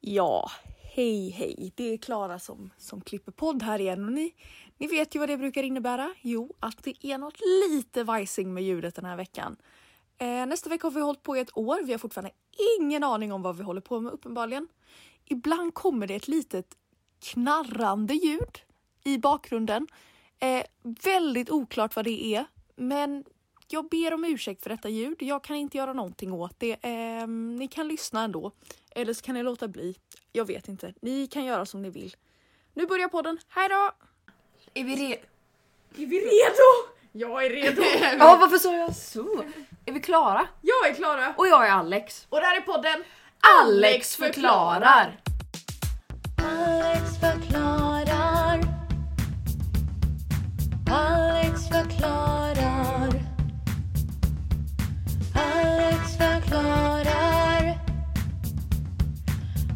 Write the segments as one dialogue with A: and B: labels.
A: Ja, hej hej! Det är Klara som, som klipper podd här igen och ni, ni vet ju vad det brukar innebära. Jo, att det är något lite vajsing med ljudet den här veckan. Eh, nästa vecka har vi hållit på i ett år. Vi har fortfarande ingen aning om vad vi håller på med uppenbarligen. Ibland kommer det ett litet knarrande ljud i bakgrunden. Eh, väldigt oklart vad det är, men jag ber om ursäkt för detta ljud. Jag kan inte göra någonting åt det. Eh, ni kan lyssna ändå. Eller så kan ni låta bli. Jag vet inte. Ni kan göra som ni vill. Nu börjar podden. Hej då!
B: Är vi re...
A: Är vi redo? Jag är redo.
B: Ja, varför sa jag så? Är vi klara?
A: Jag är Klara.
B: Och jag är Alex.
A: Och där är podden
B: Alex förklarar!
C: Alex förklarar. Alex förklarar. Alex förklarar.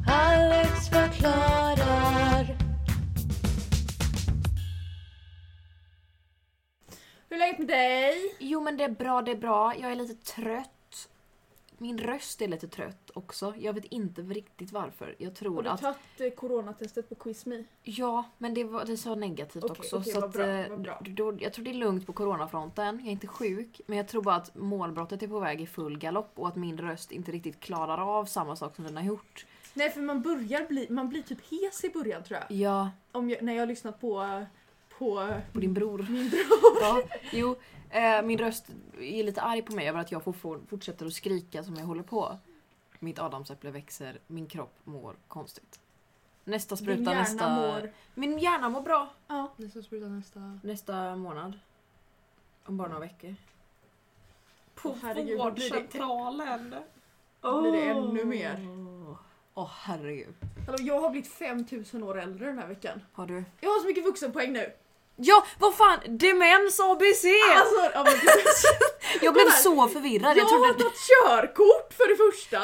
C: Alex förklarar.
A: Hur är läget med dig?
B: Jo men det är bra, det är bra. Jag är lite trött. Min röst är lite trött också. Jag vet inte riktigt varför. Jag
A: Har
B: tror
A: du
B: att...
A: tagit eh, coronatestet på QuizMe?
B: Ja, men det, var, det sa negativt
A: Okej,
B: också.
A: okej,
B: så
A: vad
B: att,
A: bra,
B: eh,
A: vad bra.
B: Då, jag tror det är lugnt på coronafronten. Jag är inte sjuk. Men jag tror bara att målbrottet är på väg i full galopp och att min röst inte riktigt klarar av samma sak som den har gjort.
A: Nej för man börjar bli, man blir typ hes i början tror jag.
B: Ja,
A: Om jag när jag har lyssnat på, eh, på eh,
B: på din bror.
A: min bror.
B: Ja, jo, eh, min röst är lite arg på mig över att jag får, får, fortsätter att skrika som jag håller på. Mitt adamsäpple växer, min kropp mår konstigt. Nästa spruta
A: Din hjärna
B: nästa...
A: mår.
B: Min hjärna mår bra.
A: Ja.
D: Nästa spruta nästa.
B: Nästa månad. Om bara några veckor.
A: På Åh, herregud, då blir det-
B: Åh.
A: blir det ännu mer.
B: Åh herregud.
A: Hallå, jag har blivit 5000 år äldre den här veckan.
B: Har du?
A: Jag har så mycket vuxenpoäng nu.
B: Ja, vad fan! Demens ABC!
A: Alltså, ja, men precis.
B: jag blev
A: kolla här.
B: så förvirrad.
A: jag
B: Jag
A: har
B: trodde...
A: tagit körkort för det första.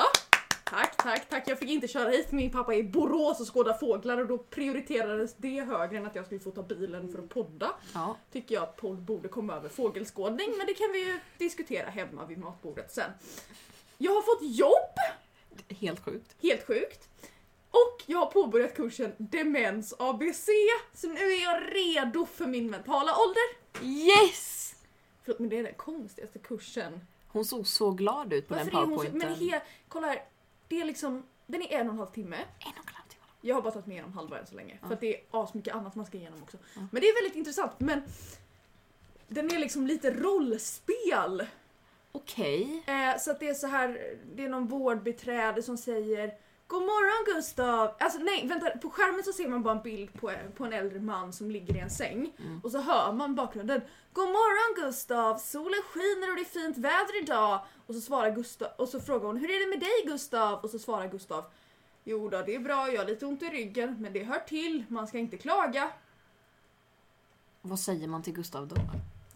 A: Tack, tack, tack. Jag fick inte köra hit för min pappa är i Borås och skådar fåglar och då prioriterades det högre än att jag skulle få ta bilen för att podda.
B: Ja,
A: Tycker jag att podd borde komma över fågelskådning men det kan vi ju diskutera hemma vid matbordet sen. Jag har fått jobb,
B: helt sjukt.
A: helt sjukt. Och jag har påbörjat kursen Demens ABC. Så nu är jag redo för min mentala ålder.
B: Yes!
A: Förlåt men det är den konstigaste kursen
B: Hon såg så glad ut på
A: Varför
B: den
A: är hon så...
B: powerpointen.
A: Men he, kolla här. Det är liksom, den är en och en halv timme.
B: En och en halv timme.
A: Jag har bara tagit mig igenom halva än så länge. För
B: Ja.
A: att det är asmycket annat man ska igenom också.
B: Ja.
A: Men det är väldigt intressant. Men den är liksom lite rollspel.
B: Okej.
A: Eh, så att det är så här, det är någon vårdbiträde som säger God morgon Gustav! Alltså nej, vänta. På skärmen så ser man bara en bild på, på en äldre man som ligger i en säng.
B: Mm.
A: Och så hör man i bakgrunden God morgon Gustav! Solen skiner och det är fint väder idag. Och så svarar Gustav och så frågar hon Hur är det med dig Gustav? Och så svarar Gustav Jo då, det är bra. Jag har lite ont i ryggen, men det hör till. Man ska inte klaga.
B: Vad säger man till Gustav då?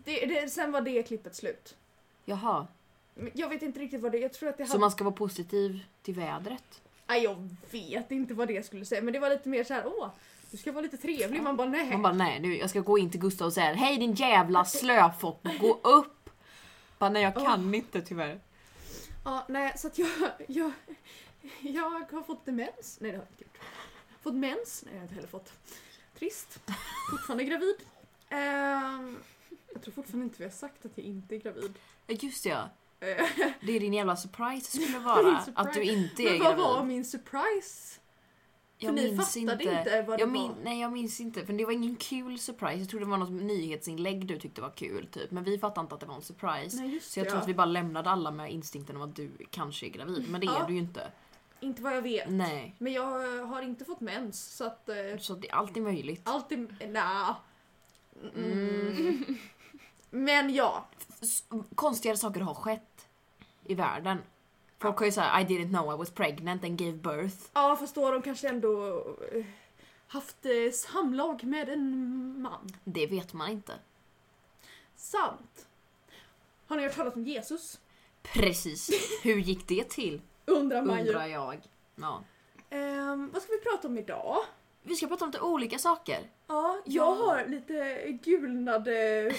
A: Det, det, sen var det klippet slut.
B: Jaha,
A: Men Jag vet inte riktigt vad det Jag tror att det
B: så man ska vara positiv till vädret?
A: Nej, jag vet inte vad det skulle säga, men det var lite mer så här: åh, du ska vara lite trevlig. Man bara nej.
B: Man bara nej, nu, jag ska gå in till Gustav och säga hej din jävla slöfock, gå upp! Bara nej jag kan inte tyvärr.
A: Ja, nej, så att jag, jag, jag har fått demens. Nej, det har jag inte gjort. Fått mens? Nej, jag har inte heller fått. Trist. Fortfarande gravid. Ehm, jag tror fortfarande inte vi har sagt att jag inte är gravid.
B: Ja, Just det, ja,
A: Eh,
B: det är din jävla surprise det skulle vara.
A: surprise.
B: Att du inte är
A: men vad var
B: gravid.
A: min surprise?
B: Jag
A: För ni
B: minns
A: fattade inte,
B: inte.
A: vad det
B: Jag min,
A: var.
B: nej jag minns inte, för det var ingen kul surprise. Jag trodde det var något nyhetsinlägg du tyckte var kul typ. Men vi fattade inte att det var en surprise.
A: Nej, just
B: Så jag
A: det,
B: tror
A: ja.
B: att vi bara lämnade alla med instinkten om att du kanske är gravid, men det
A: Ja.
B: är du ju inte.
A: Inte vad jag vet.
B: Nej.
A: Men jag har inte fått mens, så att... eh,
B: Så att det, allt är möjligt.
A: Allt är... Nja.
B: Mm.
A: Men ja.
B: S- Konstigare saker har skett i världen. Folk har ju såhär I didn't know I was pregnant and gave birth.
A: Ja fast då har de kanske ändå eh, haft eh, samlag med en man.
B: Det vet man inte.
A: Sant. Har ni hört talas om Jesus?
B: Precis. Hur gick det till?
A: Undrar man ju.
B: Undrar jag. Ja.
A: Ehm, vad ska vi prata om idag?
B: Vi ska prata om lite olika saker.
A: Ja, jag
B: Ja.
A: har lite gulnade...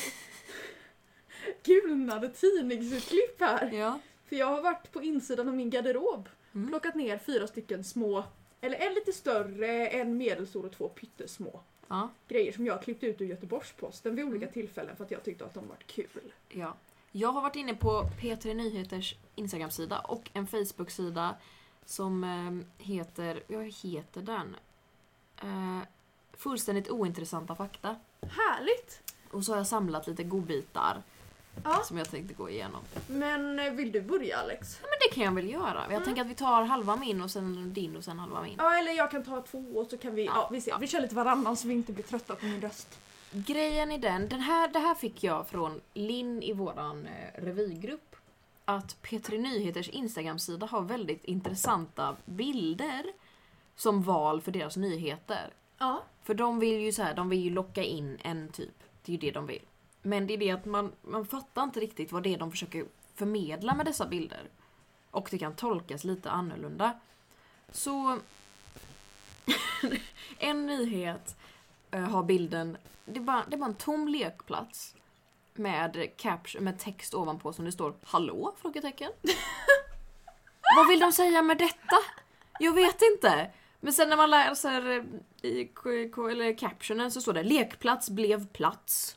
A: gulnade tidningsutklipp här.
B: Ja.
A: För jag har varit på insidan av min garderob.
B: Mm.
A: Plockat ner fyra stycken små Eller en lite större, en medelstor och två pyttesmå.
B: Ja,
A: Grejer som jag har klippt ut ur Göteborgs-Posten vid olika
B: Mm.
A: tillfällen för att jag tyckte att de varit kul.
B: ja. Jag har varit inne på P3 Nyheters Instagram-sida och en Facebook-sida som eh, heter... Vad heter den? Eh, fullständigt ointressanta fakta.
A: Härligt!
B: Och så har jag samlat lite godbitar
A: Ja.
B: som jag tänkte gå igenom.
A: Men eh, vill du börja Alex?
B: Men det kan jag väl göra. Jag tänker att vi tar halva min och sen din och sen halva min.
A: Ja eller jag kan ta två och så kan vi,
B: Ja,
A: ja vi ser.
B: ja.
A: Vi kör lite varannan så vi inte blir trötta på min röst.
B: Grejen i den, den här, det här fick jag från Linn i våran eh, revygrupp. Att P3 Nyheters Instagram-sida har väldigt intressanta bilder som val för deras nyheter.
A: Ja.
B: För de vill ju så här, de vill ju locka in en typ. Det är ju det de vill. Men det är det att man, man fattar inte riktigt vad det är de försöker förmedla med dessa bilder. Och det kan tolkas lite annorlunda. Så... en nyhet eh, har bilden... Det är, bara, det är bara en tom lekplats. Med, caption, med text ovanpå som det står Hallå? Frågetecken. vad vill de säga med detta? Jag vet inte. Men sen när man läser eh, i k- k- eller captionen så står det lekplats blev plats.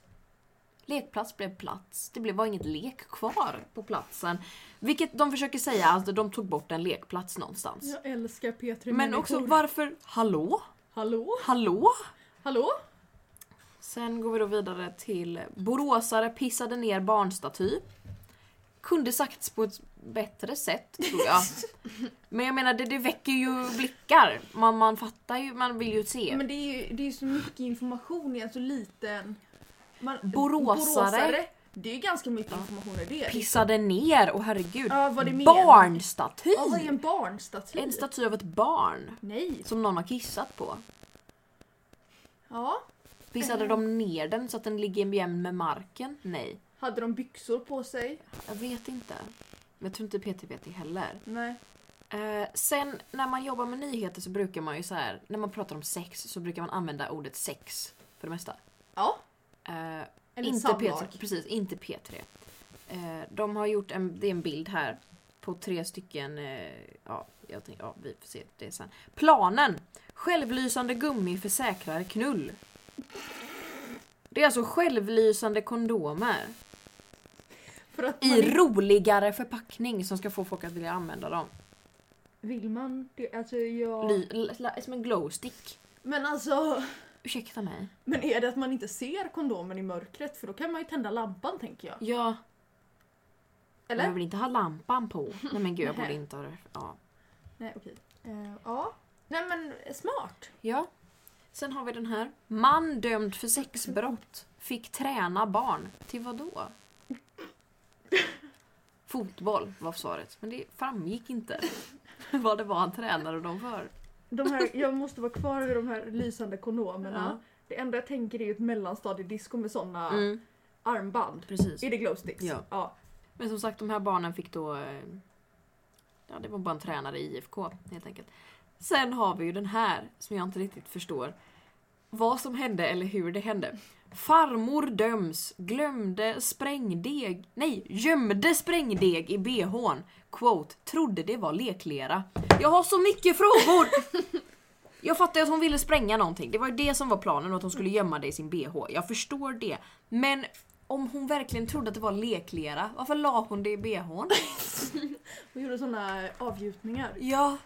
B: Lekplats blev plats. Det blev- var inget lek kvar på platsen. Vilket de försöker säga att de tog bort en lekplats någonstans.
A: Jag älskar P3
B: Men också varför, hallå?
A: Hallå?
B: Hallå?
A: Hallå?
B: Sen går vi då vidare till Boråsare pissade ner barnstaty. Kunde sagts på ett bättre sätt tror jag. Men jag menar det, det väcker ju blickar. Man, man fattar ju, man vill ju se.
A: Men det är ju det är ju så mycket information i en så liten... Man,
B: Boråsare.
A: Det är ju ganska mycket information i det.
B: pissade ner och herregud.
A: Ja, vad det menar.
B: barnstaty!
A: Ja, vad är en barnstaty?
B: en staty av ett barn
A: Nej.
B: som någon har kissat på.
A: Ja.
B: Pissade de ner den så att den ligger jämn med marken? Nej,
A: Hade de byxor på sig?
B: jag vet inte. Men jag tror inte PT vet det heller.
A: Nej.
B: Eh, sen när man jobbar med nyheter så brukar man ju så här, när man pratar om sex så brukar man använda ordet sex för det mesta.
A: Ja.
B: Eh,
A: Eller
B: inte
A: samlag.
B: P3, precis, inte P3. Eh, de har gjort en, det är en bild här på tre stycken, eh, ja, jag tänkte, ja, vi får se det sen. Planen! Självlysande gummi för säkrare knull. Det är alltså självlysande kondomer
A: För att man,
B: i roligare förpackning som ska få folk att vilja använda dem.
A: vill man det? Alltså jag...
B: Ly, l- som en glowstick.
A: Men alltså...
B: Ursäkta mig.
A: Men är det att man inte ser kondomen i mörkret? För då kan man ju tända lampan tänker jag.
B: Ja,
A: Eller?
B: jag vill inte ha lampan på. Nej men gud, jag
A: Nej.
B: borde inte ha det. Ja.
A: Nej okej. Eh, ja. Nej men smart.
B: ja. Sen har vi den här. Man dömd för sexbrott fick träna barn. Till vad då? Fotboll var svaret, men det framgick inte vad det var han tränade dem för.
A: De här, jag måste vara kvar vid de här lysande kondomerna.
B: Ja.
A: Det enda jag tänker är ju ett mellanstadiedisco med såna
B: Mm,
A: armband.
B: precis.
A: Är det glowsticks?
B: Ja. Men som sagt, de här barnen fick då... eh, Ja, det var bara en tränare i IFK helt enkelt. Sen har vi ju den här som jag inte riktigt förstår. Vad som hände eller hur det hände. Farmor döms, glömde sprängdeg, nej gömde sprängdeg i bhn. Quote, trodde det var leklera. Jag har så mycket frågor! Jag fattar ju att hon ville spränga någonting, det var ju det som var planen och att hon skulle gömma det i sin bh. Jag förstår det. Men om hon verkligen trodde att det var leklera, varför la hon det i bhn?
A: Och gjorde såna avgjutningar.
B: Ja.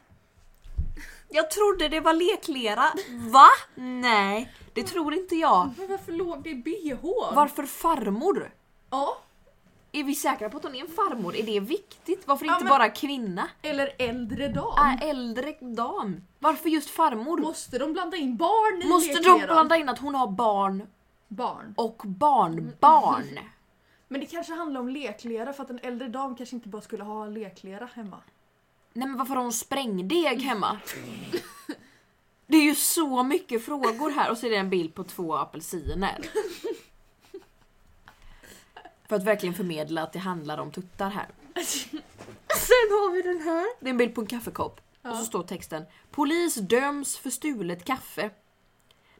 B: Jag trodde det var leklera. Va? Nej, det tror inte jag.
A: Men varför låg det i bh?
B: Varför farmor?
A: Ja.
B: Är vi säkra på att hon är en farmor? Är det viktigt? Varför
A: Ja,
B: inte
A: men-
B: bara kvinna?
A: Eller äldre dam.
B: Äh, äldre dam. Varför just farmor?
A: Måste de blanda in barn i
B: Måste de
A: leklera?
B: blanda in att hon har barn
A: Barn.
B: och barnbarn?
A: Men det kanske handlar om leklera för att en äldre dam kanske inte bara skulle ha leklera hemma.
B: Nej men varför har hon sprängdeg hemma? Det är ju så mycket frågor här och så är det en bild på två apelsiner. För att verkligen förmedla att det handlar om tuttar här. Sen har vi den här. Det är en bild på en kaffekopp. Och så står texten Polis döms för stulet kaffe.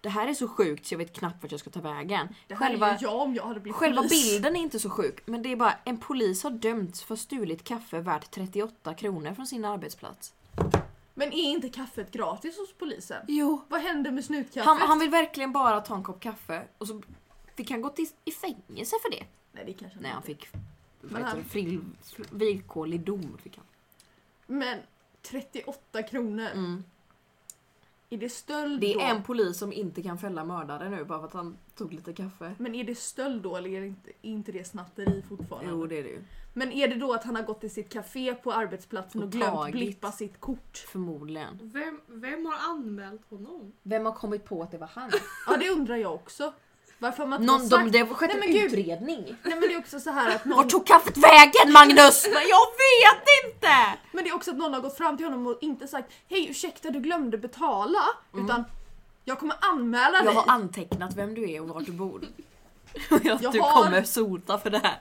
B: Det här är så sjukt så jag vet knappt vart jag ska ta vägen.
A: Det här Själva... är ju jag om jag hade blivit
B: Själva
A: polis.
B: bilden är inte så sjuk, men det är bara en polis har dömts för stulit kaffe värt 38 kronor från sin arbetsplats.
A: Men är inte kaffet gratis hos polisen?
B: Jo.
A: Vad hände med snutkaffet?
B: Han, han vill verkligen bara ta en kopp kaffe och så fick han gå till, i fängelse för det.
A: Nej det kanske
B: Nej, han
A: inte.
B: fick
A: Men
B: vad
A: han-
B: heter det, frill, fr- villkorlig dom. Fick han.
A: Men 38 kronor,
B: Mm.
A: är det stöld
B: Det
A: då?
B: är en polis som inte kan fälla mördare nu bara för att han tog lite kaffe.
A: Men är det stöld då eller är det inte, är inte det snatteri fortfarande?
B: Jo, det är det ju.
A: Men är det då att han har gått till sitt café på arbetsplatsen och,
B: Och
A: glömt
B: tagit.
A: blippa sitt kort?
B: Förmodligen.
C: Vem, vem har anmält honom?
B: Vem har kommit på att det var han?
A: Ja det undrar jag också. Varför har man inte
B: Någon,
A: sagt...
B: de, det har skett
A: Nej, men
B: en
A: gud.
B: utredning.
A: Nej men det är också så här att någon...
B: Vart tog kaffet vägen Magnus? Nej, jag vet inte!
A: Men det är också att någon har gått fram till honom och inte sagt Hej ursäkta du glömde betala. Utan jag kommer anmäla
B: Mm. Jag
A: dig.
B: har antecknat vem du är och var du bor. Och att
A: Jag
B: du
A: har-
B: kommer sota för det här.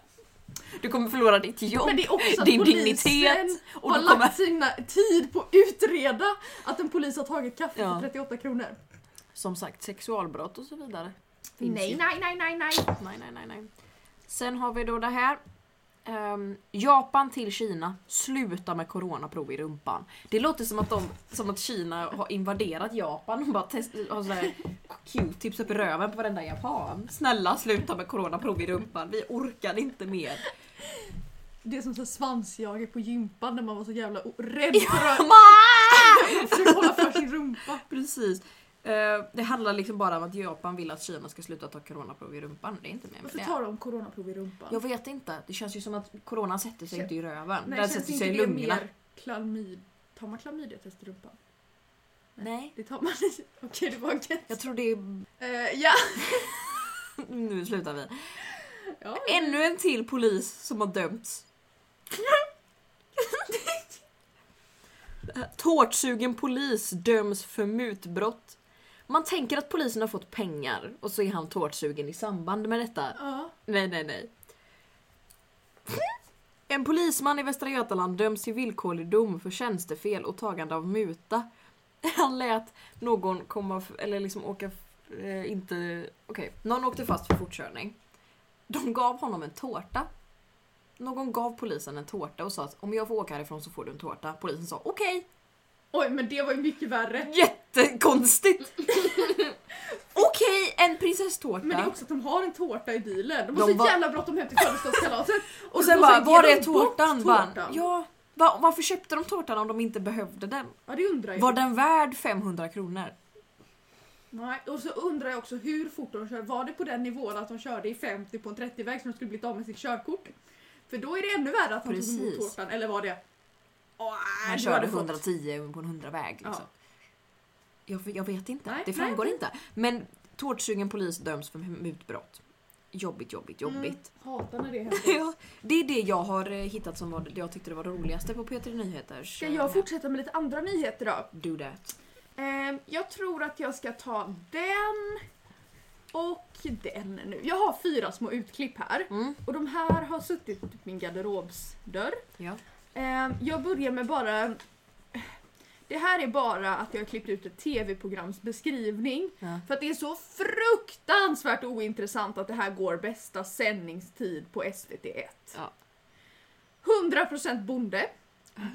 B: Du kommer förlora ditt jobb,
A: Men det är också att
B: din
A: polisen
B: dignitet och
A: har
B: du kommer...
A: lagt sin tid på att utreda att en polis har tagit kaffe
B: Ja.
A: för 38 kronor.
B: Som sagt, sexualbrott och så vidare.
A: Nej,
B: nej, nej, nej, nej. Nej, nej, nej, nej. Sen har vi då det här. Ehm, Japan till Kina. Sluta med coronaprov i rumpan. Det låter som att, de, som att Kina har invaderat Japan och bara test, har sådär Q-tips upp i röven på varenda japan. Snälla sluta med coronaprov i rumpan. Vi orkar inte mer.
A: Det är som så här svansjagare på gympan när man var så jävla o- rädd för att man försökte hålla för sin rumpa.
B: Precis. Eh, det handlar liksom bara om att Japan vill att Kina ska sluta ta coronaprov i rumpan. Det är inte mer med
A: Varför
B: det.
A: tar de coronaprov i rumpan?
B: Jag vet inte. Det känns ju som att coronan sätter sig
A: Kän-
B: inte i röven.
A: Nej,
B: Den
A: känns
B: sätter
A: inte
B: sig i
A: det
B: lungorna.
A: mer Klamyd. Tar man klamydiatest i rumpan?
B: Nej.
A: Det tar man i... Okej det var en grej.
B: Jag tror det är...
A: Eh, ja.
B: Nu slutar vi.
A: ja.
B: Ännu en till polis som har dömts. Tårtsugen polis döms för mutbrott. Man tänker att polisen har fått pengar och så är han tårtsugen i samband med detta.
A: ja.
B: Nej, nej, nej. En polisman i Västra Götaland döms till villkorlig dom för tjänstefel och tagande av muta. Han lät någon komma, f- eller liksom åka, f- eh, inte, okej, någon åkte fast för fortkörning. De gav honom en tårta. Någon gav polisen en tårta och sa att om jag får åka härifrån så får du en tårta. Polisen sa okej,
A: Oj men det var ju mycket värre.
B: jättekonstigt. okej, en prinsesstårta.
A: Men det är också att de har en tårta i bilen. De har
B: De
A: så
B: var-
A: jävla bråttom hem till födelsedagskalaset.
B: Och sen
A: då
B: bara,
A: ger
B: var
A: de
B: är
A: bort
B: tårtan? Bara,
A: tårtan?
B: ja, va, varför köpte de tårtan om de inte behövde den?
A: Ja det undrar jag.
B: Var den värd 500 kronor?
A: Nej, och så undrar jag också hur fort de kör. Var det på den nivån att de körde i 50 på en 30-väg som de skulle blivit av med sitt körkort? För då är det ännu värre att de tog emot
B: Precis.
A: tårtan. Eller var det... Mm. Åh,
B: Han
A: du
B: körde
A: hade fått-
B: 110 på en 100-väg. Liksom. Jag, jag vet inte,
A: Nej,
B: det
A: nej,
B: framgår inte. Men tårtsugen polis döms för mutbrott. Jobbigt, jobbigt,
A: Mm.
B: jobbigt.
A: Hatar när det händer.
B: Ja, det är det jag har eh, hittat som var, det jag tyckte det var det roligaste på P3 Nyheters...
A: Ska
B: eh,
A: jag fortsätta med lite andra nyheter då?
B: Do that.
A: Ehm, jag tror att jag ska ta den och den nu. Jag har fyra små utklipp här.
B: Mm.
A: Och de här har suttit på min garderobsdörr.
B: Ja.
A: Ehm, jag börjar med bara... Det här är bara att jag har klippt ut ett tv-programs beskrivning.
B: Ja.
A: För att det är så fruktansvärt ointressant att det här går bästa sändningstid på SVT1.
B: Ja.
A: 100% Bonde.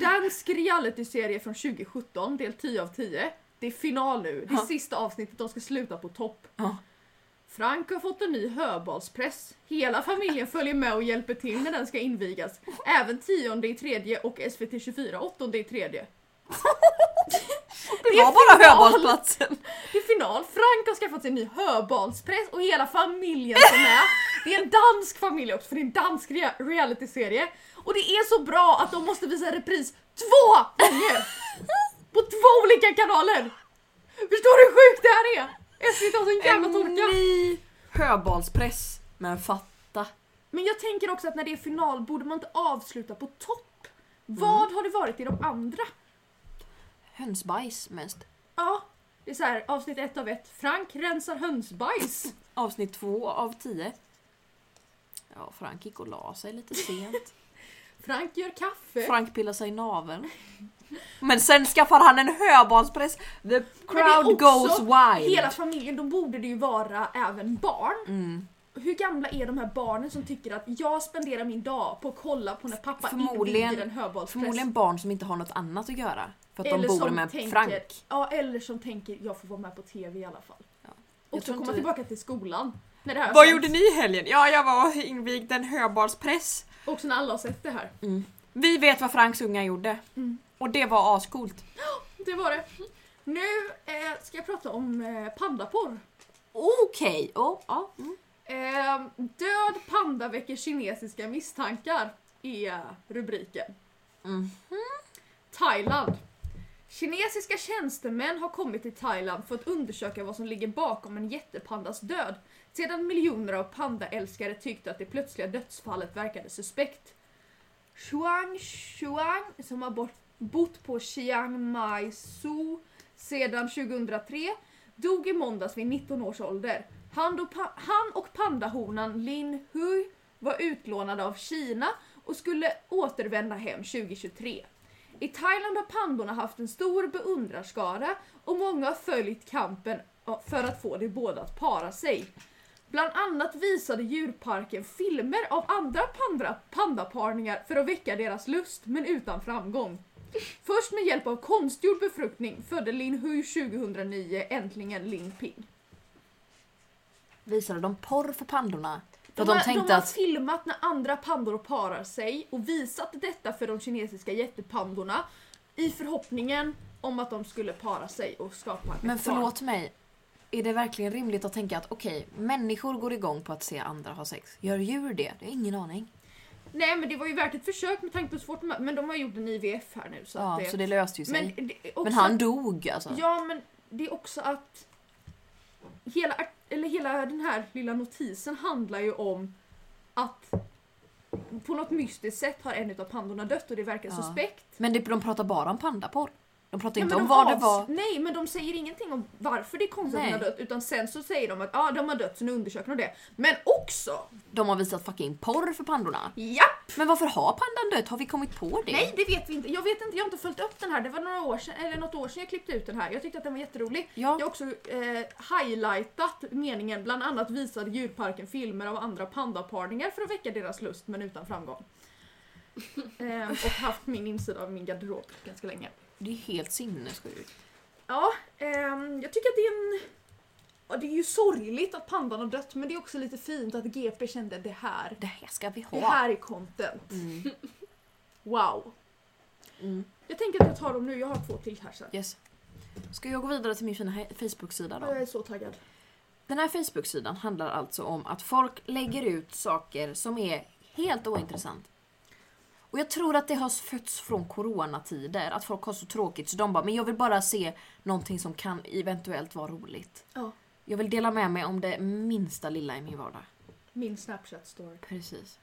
A: Dansk realityserie från 2017, del 10 av 10. Det är final nu, det är
B: Ja.
A: sista avsnittet, de ska sluta på topp.
B: Ja.
A: Frank har fått en ny höbalspress. Hela familjen följer med och hjälper till när den ska invigas. Även tionde i tredje och SVT 24 åttonde i tredje.
B: Det var bara högbasplatsen!
A: Det är final. Frank har skaffat sig en ny höbalspress och hela familjen som är med. Det är en dansk familj också för det är en dansk rea- realityserie. Och det är så bra att de måste visa repris två gånger! På två olika kanaler! Förstår du hur sjukt det här är? SVT har sån jävla
B: En
A: torka.
B: ny högbalspress. Men fatta.
A: Men jag tänker också att när det är final borde man inte avsluta på topp. Vad
B: Mm.
A: har det varit i de andra?
B: Hönsbajs mest.
A: Ja, det är så här avsnitt ett av ett. Frank rensar hönsbajs.
B: Avsnitt två av tio. Ja, Frank gick och la sig lite sent.
A: Frank gör kaffe.
B: Frank pillade sig i naveln. Men sen skaffar han en högbalspress. The
A: Men det är också
B: crowd goes wild.
A: Hela familjen, då borde det ju vara även barn.
B: Mm.
A: hur gamla är de här barnen som tycker att jag spenderar min dag på att kolla på när pappa
B: Förmodligen-
A: inviger en höbollspress?
B: Förmodligen barn som inte har något annat att göra. För att
A: Eller
B: de bor
A: som
B: med
A: tänker-
B: Frank.
A: Ja, eller som tänker jag får vara med på TV i alla fall.
B: Ja.
A: Och
B: Jag
A: så
B: tror
A: komma
B: inte-
A: tillbaka till skolan. När det här har
B: Vad
A: sänts.
B: gjorde ni i helgen? Ja, jag var invigd en höbalspress.
A: Också när alla har sett det här.
B: Vi vet vad Franks unga gjorde.
A: Mm.
B: Och det var ascoolt.
A: Det var det. Nu eh, ska jag prata om eh, pandaporr.
B: Okej, oh, ja. Mm.
A: Eh, död panda väcker kinesiska misstankar är rubriken. Mm.
B: Mhm.
A: Thailand. Kinesiska tjänstemän har kommit till Thailand för att undersöka vad som ligger bakom en jättepandas död sedan miljoner av pandaälskare tyckte att det plötsliga dödsfallet verkade suspekt. Chuang Chuang, som har bort, bott på Chiang Mai Zoo sedan 2003, dog i måndags vid 19 års ålder. Han och, pa- han och pandahonan Lin Hui var utlånade av Kina och skulle återvända hem 2023. I Thailand har pandorna haft en stor beundrarskara och många har följt kampen ja, för att få de båda att para sig. Bland annat visade djurparken filmer av andra pandra, pandaparningar för att väcka deras lust, men utan framgång. Först med hjälp av konstgjord befruktning födde Lin Hui 2009 äntligen Ling Ping.
B: Visade de porr för pandorna? För
A: De,
B: att de,
A: har-
B: tänkte
A: de har
B: att...
A: filmat när andra pandor parar sig och visat detta för de kinesiska jättepandorna i förhoppningen om att de skulle para sig och skapa ett
B: Men
A: barn.
B: förlåt mig. Är det verkligen rimligt att tänka att okej, människor går igång på att se andra ha sex. Gör djur det? Det är ingen aning.
A: Nej men det var ju värt ett försök med tanke på hur svårt de Men de har gjort en IVF här nu så
B: ja,
A: att det...
B: så det löste ju sig. Men,
A: men, det är också,
B: han dog alltså.
A: Ja men det är också att hela, art- eller hela den här lilla notisen handlar ju om att på något mystiskt sätt har en av pandorna dött och det verkar
B: Ja.
A: suspekt.
B: Men det, de pratar bara om pandaporr. De pratar
A: Ja,
B: inte
A: men
B: om
A: de
B: vad det
A: avs-
B: var.
A: Nej men de säger ingenting om varför det är konstigt att de
B: Nej.
A: har dött utan sen så säger de att ja de har dött så nu undersöker de det. Men också!
B: De har visat fucking porr för pandorna.
A: Japp!
B: Men varför har pandan dött? Har vi kommit på det?
A: Nej det vet vi inte. Jag vet inte, jag har inte följt upp den här. Det var några år sedan, eller något år sedan jag klippte ut den här. Jag tyckte att den var jätterolig.
B: Ja,
A: Jag har också eh, highlightat meningen bland annat visade djurparken filmer av andra pandaparningar för att väcka deras lust men utan framgång. Ehm, och haft min insida av min garderob ganska länge.
B: det är helt sinnessjukt.
A: Ja, ehm, jag tycker att det är en... Ja, det är ju sorgligt att pandan har dött men det är också lite fint att GP kände det här.
B: Det här ska vi ha.
A: Det här är content.
B: Mm.
A: Wow.
B: Mm.
A: Jag tänker att jag tar dem nu, jag har två till här sen.
B: Yes. Ska jag gå vidare till min fina he- Facebook-sida då?
A: Jag är så taggad.
B: Den här Facebook-sidan handlar alltså om att folk lägger ut saker som är helt ointressant. Och jag tror att det har fötts från coronatider, att folk har så tråkigt så de bara “men jag vill bara se någonting som kan eventuellt vara roligt”.
A: Ja.
B: Jag vill dela med mig om det minsta lilla i min vardag.
A: Min snapchat story.
B: Precis.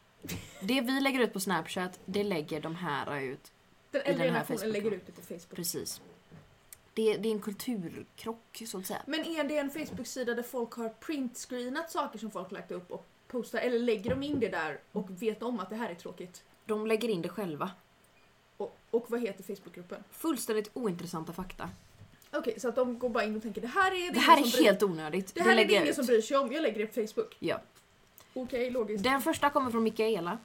B: Det vi lägger ut på Snapchat, det lägger de här ut.
A: Den
B: den
A: äldre
B: här
A: generationen
B: Facebooken.
A: lägger ut det på Facebook.
B: Precis. Det, det är en kulturkrock så att säga.
A: Men är det en Facebook-sida där folk har printscreenat saker som folk lagt upp och postar eller lägger de in det där och vet om att det här är tråkigt?
B: De lägger in det själva.
A: Och, och vad heter Facebookgruppen?
B: Fullständigt ointressanta fakta.
A: Okej, så att de går bara in och tänker det här är
B: Det här
A: ingen som
B: är
A: bryr-
B: helt onödigt.
A: Det här är
B: lägger
A: det
B: jag
A: ingen
B: ut.
A: som bryr sig om, jag lägger det på Facebook.
B: Ja.
A: Okej, logiskt.
B: Den första kommer från Mikaela.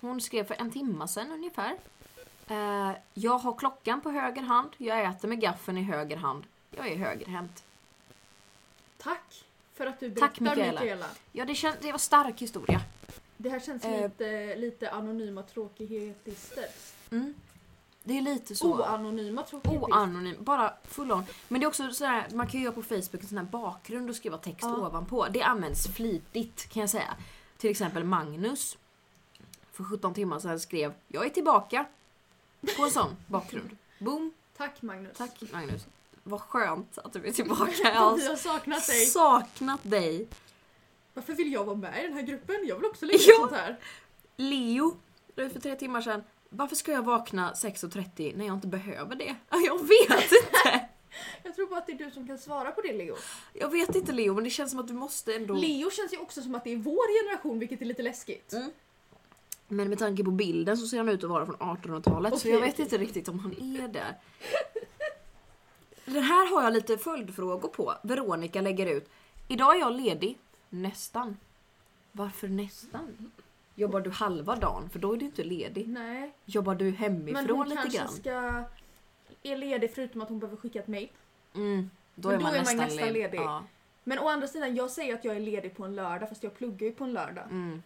B: Hon skrev för en timma sedan ungefär. Eh, jag har klockan på höger hand, jag äter med gaffeln i höger hand. Jag är högerhänt.
A: Tack för att du berättar
B: Tack,
A: Mikaela.
B: Mikaela. Ja, det, kän- det var stark historia.
A: Det här känns
B: Eh.
A: lite, lite anonyma tråkighetister.
B: Mm. Det är lite så.
A: Oh, Oanonyma tråkighetister.
B: Oanonym, bara full on. Men det är också sådär, man kan ju göra på Facebook en sån här bakgrund och skriva text
A: Ja.
B: ovanpå. Det används flitigt kan jag säga. Till exempel Magnus för 17 timmar sedan skrev “Jag är tillbaka” på en sån bakgrund. Boom!
A: Tack Magnus.
B: Tack Magnus. Vad skönt att du är tillbaka. Jag
A: Vad
B: har
A: Vi har saknat dig.
B: saknat dig.
A: Varför vill jag vara med i den här gruppen? Jag vill också lägga ut
B: Ja.
A: sånt här.
B: Leo, det är för tre timmar sedan. Varför ska jag vakna 6.30 när jag inte behöver det? Jag vet inte!
A: Jag tror bara att det är du som kan svara på det Leo.
B: Jag vet inte Leo, men det känns som att du måste ändå...
A: Leo känns ju också som att det är vår generation vilket är lite läskigt.
B: Mm. Men med tanke på bilden så ser han ut att vara från 1800-talet så
A: Okej,
B: jag vet
A: okej.
B: inte riktigt om han är där. Den här har jag lite följdfrågor på. Veronica lägger ut. Idag är jag ledig. Nästan. Varför nästan? Jobbar du halva dagen? För då är du inte ledig.
A: Nej.
B: Jobbar du
A: Men
B: hemifrån
A: hon
B: Mm. lite
A: kanske ska...
B: grann?
A: Är ledig förutom att hon behöver skicka ett mail.
B: Mm, då,
A: Men
B: är,
A: då
B: man
A: är man
B: nästan
A: nästan
B: led-
A: ledig.
B: Ja,
A: Men å andra sidan, jag säger att jag är ledig på en lördag fast jag pluggar ju på en lördag.
B: mm.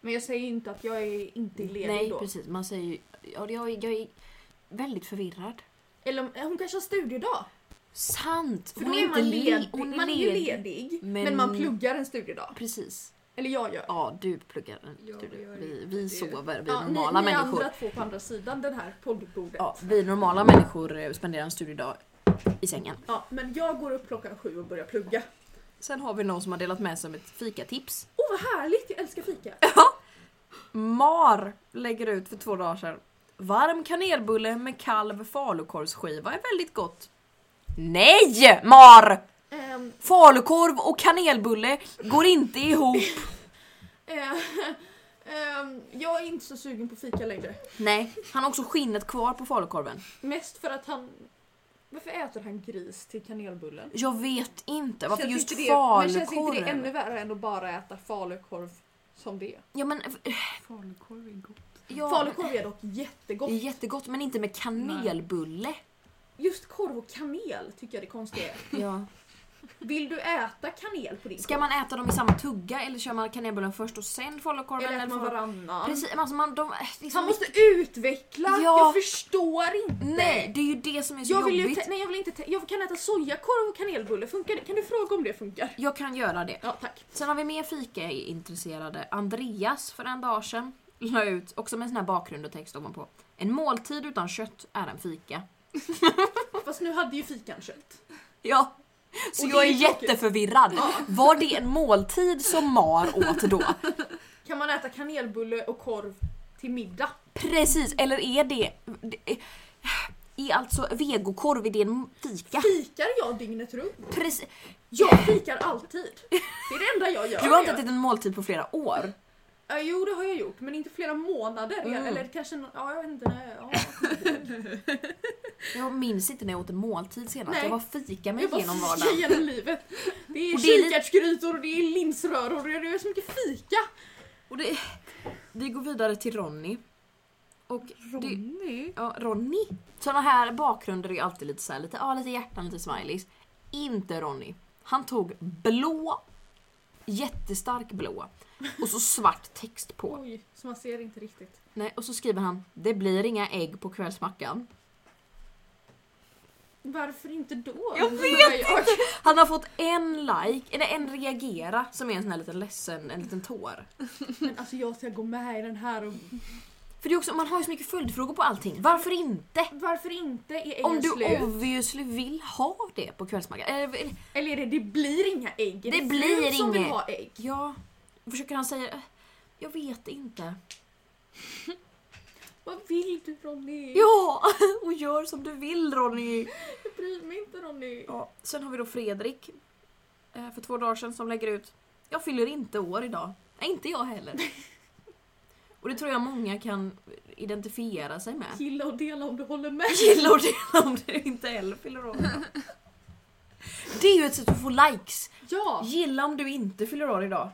A: Men jag säger ju inte att jag är inte är ledig
B: Nej
A: då.
B: precis, man säger ju... Ja, jag, är- jag är väldigt förvirrad.
A: Eller om- hon kanske har studiedag.
B: Sant!
A: För då är man
B: le-
A: ledig.
B: hon
A: man är ju ledig men...
B: men-
A: man pluggar en studiedag.
B: Precis.
A: Eller jag gör.
B: Ja, du pluggar.
C: Ja,
B: du,
C: jag gör
B: vi
C: inte
B: vi
C: det.
B: sover, vi
A: Ja,
B: normala
A: ni, ni
B: människor.
A: andra två på andra sidan den här poddbordet.
B: Ja, vi normala människor eh, spenderar en studiedag i sängen.
A: Ja, men jag går upp klockan sju och börjar plugga.
B: Sen har vi någon som har delat med sig om ett fikatips.
A: Åh vad härligt, jag älskar fika.
B: Mar lägger ut för två dagar sedan. Varm kanelbulle med kalv falukorvsskiva är väldigt gott. Nej Mar!
A: Ehm,
B: Falukorv och kanelbulle går inte ihop.
A: eh, ehm, jag är inte så sugen på fika längre.
B: Nej, han har också skinnet kvar på falukorven.
A: Mest för att han... Varför äter han gris till kanelbullen?
B: Jag vet inte varför
A: Känns
B: just
A: inte det- Men känns inte det ännu
B: falukorv.
A: värre än att bara äta falukorv som det?
B: Ja men... eh,
C: Falukorv är gott.
B: Ja,
A: Falukorv är dock
B: det är
A: jättegott.
B: jättegott men inte med kanelbulle.
A: Just korv och kanel tycker jag det konstiga är.
B: Ja.
A: Vill du äta kanel på din
B: Ska man äta dem i samma tugga eller kör man kanelbullen först och sen
A: korv?
B: falukorven?
A: Eller äter man
B: får-
A: varannan?
B: Precis, men alltså man, de, det är så
A: Han måste
B: mycket-
A: utveckla!
B: Ja.
A: Jag förstår inte!
B: Nej, det är ju det som är så
A: Jag vill ju
B: jobbigt.
A: te- nej, jag vill inte te- Jag kan äta sojakorv och kanelbulle, funkar det? Kan du fråga om det funkar?
B: jag kan göra det.
A: Ja, tack.
B: Sen har vi mer fika-intresserade. Andreas för en dag sedan la ut, också med sån här bakgrund och text ovanpå. En måltid utan kött är en fika.
A: Fast nu hade ju fikan kött.
B: Ja. Så
A: Och det
B: jag är,
A: är ju tråkigt.
B: jätteförvirrad. Var det en måltid som Mar åt då?
A: Kan man äta kanelbulle och korv till middag?
B: Precis, eller är det... det är alltså vegokorv, är det en fika?
A: Fikar jag dygnet runt?
B: Precis.
A: Jag fikar alltid. Det är det enda jag gör.
B: Du har inte ätit en måltid på flera år.
A: Ja, jo det har jag gjort men inte flera månader.
B: Mm.
A: Eller kanske, nå- ja jag vet inte. när jag- Ja.
B: Jag minns inte när jag åt en måltid senast.
A: Nej.
B: Jag var fika mig
A: Jag bara
B: igenom
A: fikar
B: vardagen.
A: genom livet. Det är
B: Och det är lite-
A: kikärtsgrytor och det är linsröror och det är så mycket fika.
B: Och det, vi går vidare till Ronny. Och Det,
C: Ronny?
B: ja, Ronny. Såna här bakgrunder är alltid lite så här, lite, ja, lite hjärtan, lite smileys. Inte Ronny. Han tog blå, jättestark blå och så svart text på.
A: Oj, så man ser inte riktigt.
B: Nej, och så skriver han “Det blir inga ägg på kvällsmackan”.
A: Varför inte då?
B: Jag
A: undrar
B: vet
A: jag.
B: Han har fått en like, eller en reagera, som är en sån här liten ledsen, en liten tår.
A: Men alltså jag ska gå med i den här och...
B: För det är också, man har ju så mycket följdfrågor på allting. Varför inte?
A: Varför inte? Är äggen
B: Om du
A: slut?
B: obviously vill ha det på kvällsmackan. Eller, eller-
A: Eller är det det blir inga ägg? Är
B: Det blir
A: fru som vill
B: inget.
A: ha ägg?
B: ja, försöker han säga... eh, Jag vet inte.
A: Vad vill du Ronny?
B: Ja, och gör som du vill Ronny.
A: Jag bryr mig inte Ronny.
B: Ja, sen har vi då Fredrik eh, för två dagar sedan som lägger ut Jag fyller inte år idag. Nej, inte jag heller. Och det tror jag många kan identifiera sig med.
A: Gilla och dela om du håller med.
B: gillar det om du inte heller fyller år. idag. Det är ju ett sätt att få likes.
A: Ja!
B: Gilla om du inte fyller år idag.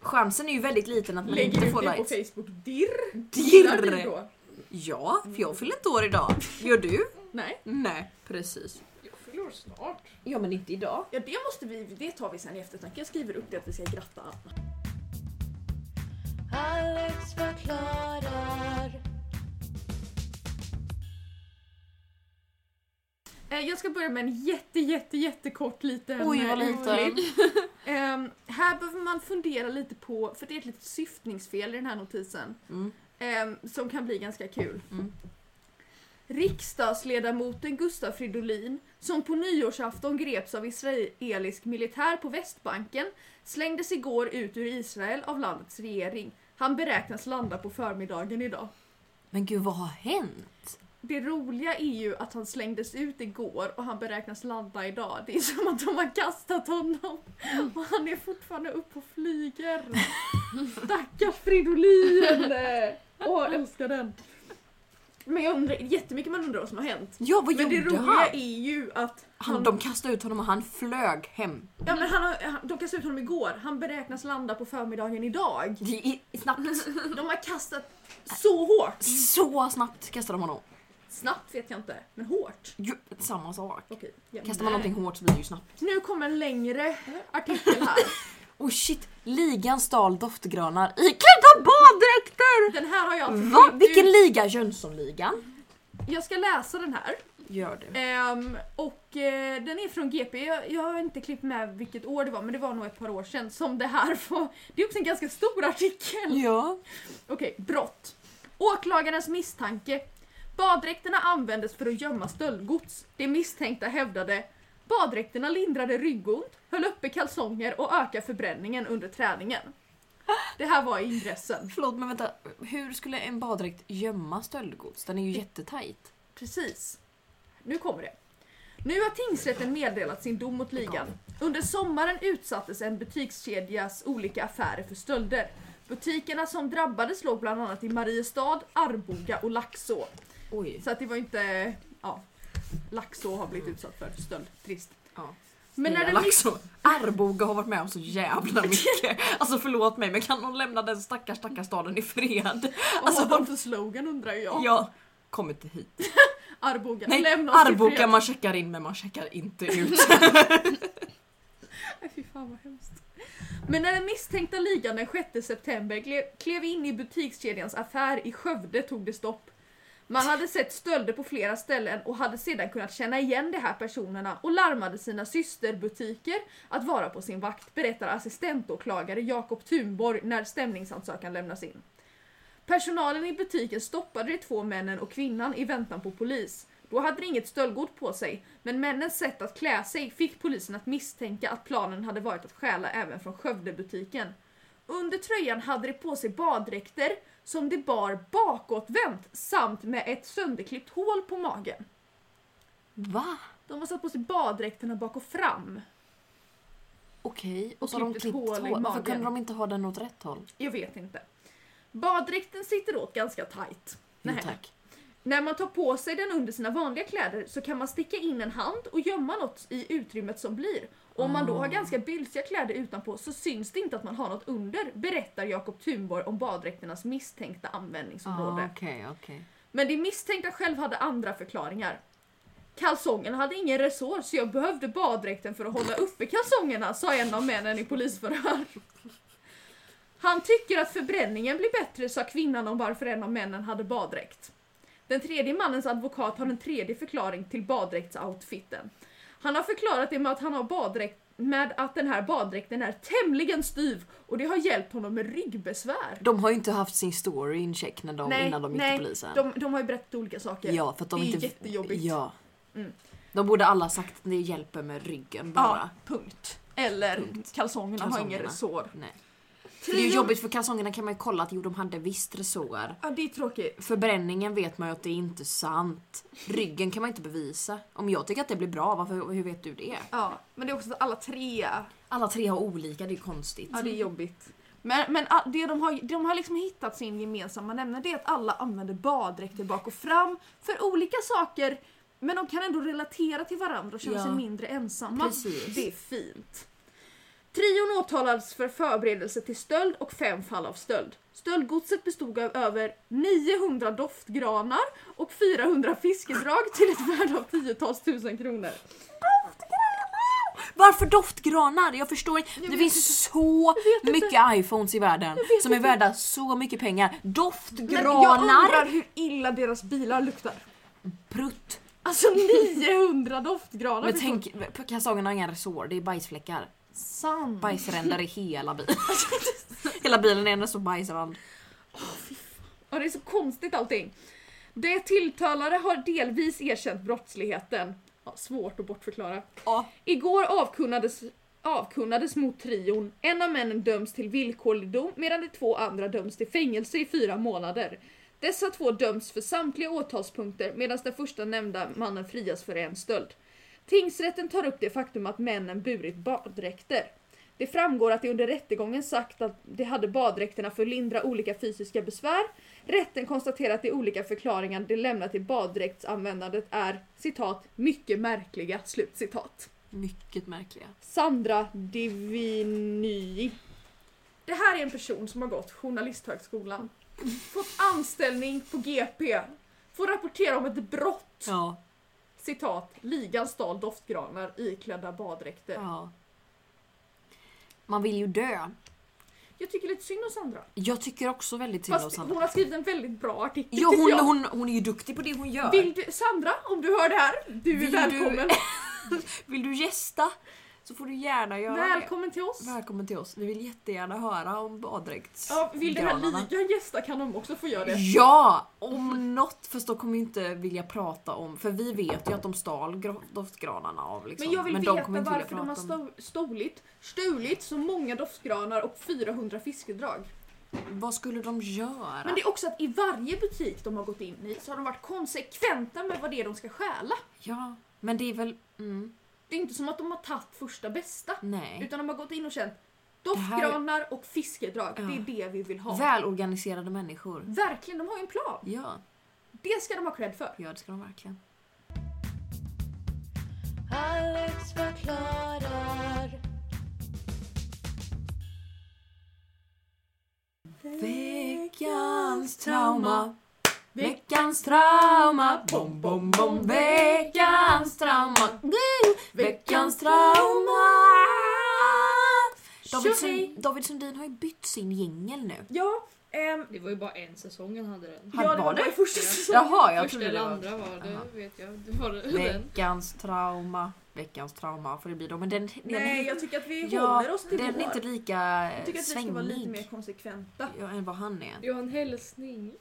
B: Chansen är ju väldigt liten att man
A: Lägger
B: inte
A: ut
B: får
A: det på
B: likes.
A: Facebook. Dirr! Gillar du
B: Dirr!
A: då?
B: Ja, för jag fyller inte år idag. Gör du?
A: Nej.
B: Nej, precis.
C: Jag fyller snart.
B: Ja, men inte idag.
A: Ja det måste vi, det tar vi sen i eftertanke. Jag skriver upp det att vi ska gratta Anna.
E: Alex förklarar.
A: Eh, Jag ska börja med en jätte jätte jättekort liten
B: Oj, vad
A: eh,
B: liten.
A: Ehm, här behöver man fundera lite på, för det är ett litet syftningsfel i den här notisen,
B: Mm.
A: ehm, som kan bli ganska kul.
B: Mm.
A: Riksdagsledamoten Gustaf Fridolin, som på nyårsafton greps av israelisk militär på Västbanken, slängdes igår ut ur Israel av landets regering. Han beräknas landa på förmiddagen idag.
B: Men gud, vad har hänt?
A: Det roliga är ju att han slängdes ut igår och han beräknas landa idag. Det är som att de har kastat honom
B: Mm.
A: och han är fortfarande uppe och flyger. Stackars Fridolin! Åh, älskar den. Men jag undrar jättemycket man undrar vad som har hänt.
B: Ja, vad
A: Men det
B: gjorde
A: roliga
B: han?
A: är ju att
B: han?
A: han-
B: De kastade ut honom och han flög hem.
A: Ja men han, har- han, de kastade ut honom igår. Han beräknas landa på förmiddagen idag.
B: Det är snabbt.
A: De har kastat så hårt.
B: Så snabbt kastade de honom.
A: Snabbt vet jag inte, men hårt.
B: Ju, samma sak.
A: Okej. ja.
B: Kastar man någonting hårt så blir det ju snabbt.
A: Nu kommer en längre artikel här.
B: Oh shit! Ligan stal doftgranar iklädda baddräkter! Mm.
A: Den här har jag alltså
B: Va?
A: klippt
B: Vilken
A: ut.
B: liga? Jönssonligan?
A: Jag ska läsa den här.
B: Gör det.
A: Ehm, och eh, den är från GP, jag, jag har inte klippt med vilket år det var men det var nog ett par år sedan som det här var. Det är också en ganska stor artikel.
B: Ja.
A: Okej, brott. Åklagarens misstanke. Baddräkterna användes för att gömma stöldgods. De misstänkta hävdade baddräkterna lindrade ryggont, höll uppe kalsonger och ökade förbränningen under träningen. Det här var i ingressen.
B: Förlåt men vänta, hur skulle en baddräkt gömma stöldgods? Den är ju jättetajt.
A: Precis. Nu kommer det. Nu har tingsrätten meddelat sin dom mot ligan. Under sommaren utsattes en butikskedjas olika affärer för stölder. Butikerna som drabbades låg bland annat i Mariestad, Arboga och Laxå.
B: Oj.
A: Så att det var inte... Ja, Laxå har blivit utsatt för stöld. Trist.
B: Mm. Ja.
A: Men när
B: Nya
A: det
B: Laxå. Arboga har varit med om så jävla mycket. Alltså förlåt mig men kan någon lämna den stackars stackars staden i fred?
A: Alltså
B: Alltså,
A: vad för slogan undrar jag.
B: Jag kommer inte hit.
A: Arboga.
B: Nej,
A: lämna oss i
B: Arboga
A: fred.
B: man checkar in men man checkar inte ut.
A: Nej, Fy fan vad hemskt. Men när den misstänkta ligan den 6 september gle- klev in i butikskedjans affär i Skövde tog det stopp. Man hade sett stölder på flera ställen och hade sedan kunnat känna igen de här personerna och larmade sina systerbutiker att vara på sin vakt, berättar assistentåklagare Jakob Thunborg när stämningsansökan lämnas in. Personalen i butiken stoppade de två männen och kvinnan i väntan på polis. Då hade de inget stöldgods på sig, men männens sätt att klä sig fick polisen att misstänka att planen hade varit att stjäla även från Skövdebutiken. Under tröjan hade de på sig baddräkter som de bar bakåtvänt samt med ett sönderklippt hål på magen.
B: Va?
A: De har satt på sig baddräkterna bak och fram.
B: Okej, och så
A: Och
B: har de
A: klippt
B: klippt
A: Typ hål i
B: hår. Varför
A: magen.
B: kunde de inte ha den åt rätt håll?
A: Jag vet inte. Baddräkten sitter åt ganska tajt.
B: Jo,
A: Nej.
B: tack.
A: När man tar på sig den under sina vanliga kläder så kan man sticka in en hand och gömma något i utrymmet som blir. Och om man då har ganska bylsiga kläder utanpå så syns det inte att man har något under, berättar Jakob Thunborg om baddräkternas misstänkta användningsområde.
B: Ah, Okej, okej.
A: Men de misstänkta själv hade andra förklaringar. Kalsongerna hade ingen resår så jag behövde baddräkten för att hålla uppe kalsongerna, sa en av männen i polisförhör. Han tycker att förbränningen blir bättre, sa kvinnan om varför en av männen hade baddräkt. Den tredje mannens advokat har en tredje förklaring till baddräktsoutfiten. Han har förklarat det med att han har baddräkt med att den här baddräkten är tämligen styv och det har hjälpt honom med ryggbesvär.
B: De har ju inte haft sin story incheck när de, innan de gick till polisen.
A: De, de har ju berättat olika saker.
B: Ja, för att de
A: det är
B: inte...
A: jättejobbigt.
B: Ja.
A: Mm.
B: De borde alla sagt att det hjälper med ryggen bara.
A: Ja, punkt. Eller kalsongerna, har
B: Kalsongerna.
A: ingen resår.
B: Nej. För det är ju jobbigt för kalsongerna kan man ju kolla att jo, de hade visst resår.
A: Ja, det är tråkigt.
B: Förbränningen vet man ju att det är inte sant. Ryggen kan man inte bevisa. Om jag tycker att det blir bra, varför, hur vet du det?
A: Ja, men det är också att alla tre,
B: Alla tre har olika, det är ju konstigt.
A: ja det är jobbigt. Men, men ah, det de, har, de har liksom hittat sin gemensamma nämnare, det är att alla använder baddräkter bak och fram för olika saker. Men de kan ändå relatera till varandra och känna
B: Ja.
A: sig mindre ensamma.
B: Precis.
A: Det är fint. Trion åtalades för förberedelse till stöld och fem fall av stöld. Stöldgodset bestod av över 900 doftgranar och 400 fiskedrag till ett värde av tiotals tusen kronor.
B: Varför doftgranar? Jag förstår inte. det finns så
A: vet
B: mycket iPhones i världen
A: vet
B: som är
A: inte.
B: värda så mycket pengar.
A: Men jag
B: Doftgranar!
A: undrar hur illa deras bilar luktar.
B: Prutt!
A: Alltså 900 doftgranar.
B: Men
A: förstår du?
B: tänk, kalsongerna har inga resår, det är bajsfläckar.
A: Sant.
B: Bajsränder i hela bilen. hela bilen är en stor bajsrand.
A: Ja, det är så konstigt allting. Det tilltalade har delvis erkänt brottsligheten. Ja, svårt att bortförklara.
B: Ja.
A: Igår avkunnades, avkunnades mot trion. En av männen döms till villkorlig dom medan de två andra döms till fängelse i fyra månader. Dessa två döms för samtliga åtalspunkter medan den första nämnda mannen frias för en stöld. Tingsrätten tar upp det faktum att männen burit baddräkter. Det framgår att det under rättegången sagt att de hade baddräkterna för att lindra olika fysiska besvär. Rätten konstaterar att de olika förklaringar de lämnar till baddräktsanvändandet är citat mycket märkliga slut citat.
B: Mycket märkliga.
A: Sandra Divini. Det här är en person som har gått Journalisthögskolan, fått anställning på GP, får rapportera om ett brott,
B: Ja,
A: citat, ligan stal doftgranar iklädda baddräkter.
B: ja. Man vill ju dö.
A: Jag tycker lite synd om Sandra.
B: Jag tycker också väldigt synd om
A: Fast
B: Sandra.
A: hon har skrivit en väldigt bra artikel
B: Ja,
A: tycker
B: hon,
A: jag.
B: hon, hon är ju duktig på det hon gör.
A: Vill du, Sandra, om du hör det här, du är
B: Vill du-
A: välkommen.
B: Vill du gästa så får du gärna göra
A: Välkommen till oss.
B: det. Välkommen till oss. Vi vill jättegärna höra om baddräkts.
A: Ja, vill den här
B: granarna.
A: ligan gästa kan de också få göra det.
B: Mm. Ja! Om något, fast de kommer ju inte vilja prata om, för vi vet ju att de stal gra- doftgranarna av liksom.
A: Men jag vill
B: de
A: veta
B: kommer inte vilja
A: varför de har
B: prata om-
A: sto- stolit, stulit så många doftgranar och 400 fiskedrag.
B: Vad skulle de göra?
A: Men det är också att i varje butik de har gått in i så har de varit konsekventa med vad det är de ska stjäla.
B: Ja, men det är väl... Mm,
A: Det är inte som att de har tagit första bästa.
B: nej.
A: Utan de har gått in och känt
B: här är-
A: doftgranar och fiskedrag,
B: Ja.
A: det är det vi vill ha.
B: Välorganiserade människor.
A: Verkligen, de har ju en plan.
B: Ja,
A: Det ska de ha cred för.
B: ja, det ska de verkligen.
E: Alex förklarar.
B: Veckans trauma. Veckans trauma. Bom, bom, bom. Veckans trauma. Woo! Veckans trauma. David, Sund- David Sundin har ju bytt sin jingel nu.
A: Ja, ehm,
C: Det var ju bara en säsong han hade den.
B: Han
A: ja, det
B: var
A: var
B: det?
A: det? första säsongen.
B: Jaha, jag
C: Första
B: trodde
C: eller
B: det var...
C: andra var det,
B: Jaha.
C: vet jag. Det var det. den.
B: Veckans trauma. Veckans trauma får det bli då. Men den, den,
A: Nej, jag tycker att vi
B: ja,
A: håller oss till
B: den är
A: vår.
B: inte lika
A: jag tycker att vi ska vara lite mer
B: svängig
A: konsekventa.
B: ja, än vad han är.
C: Jag har en hälsning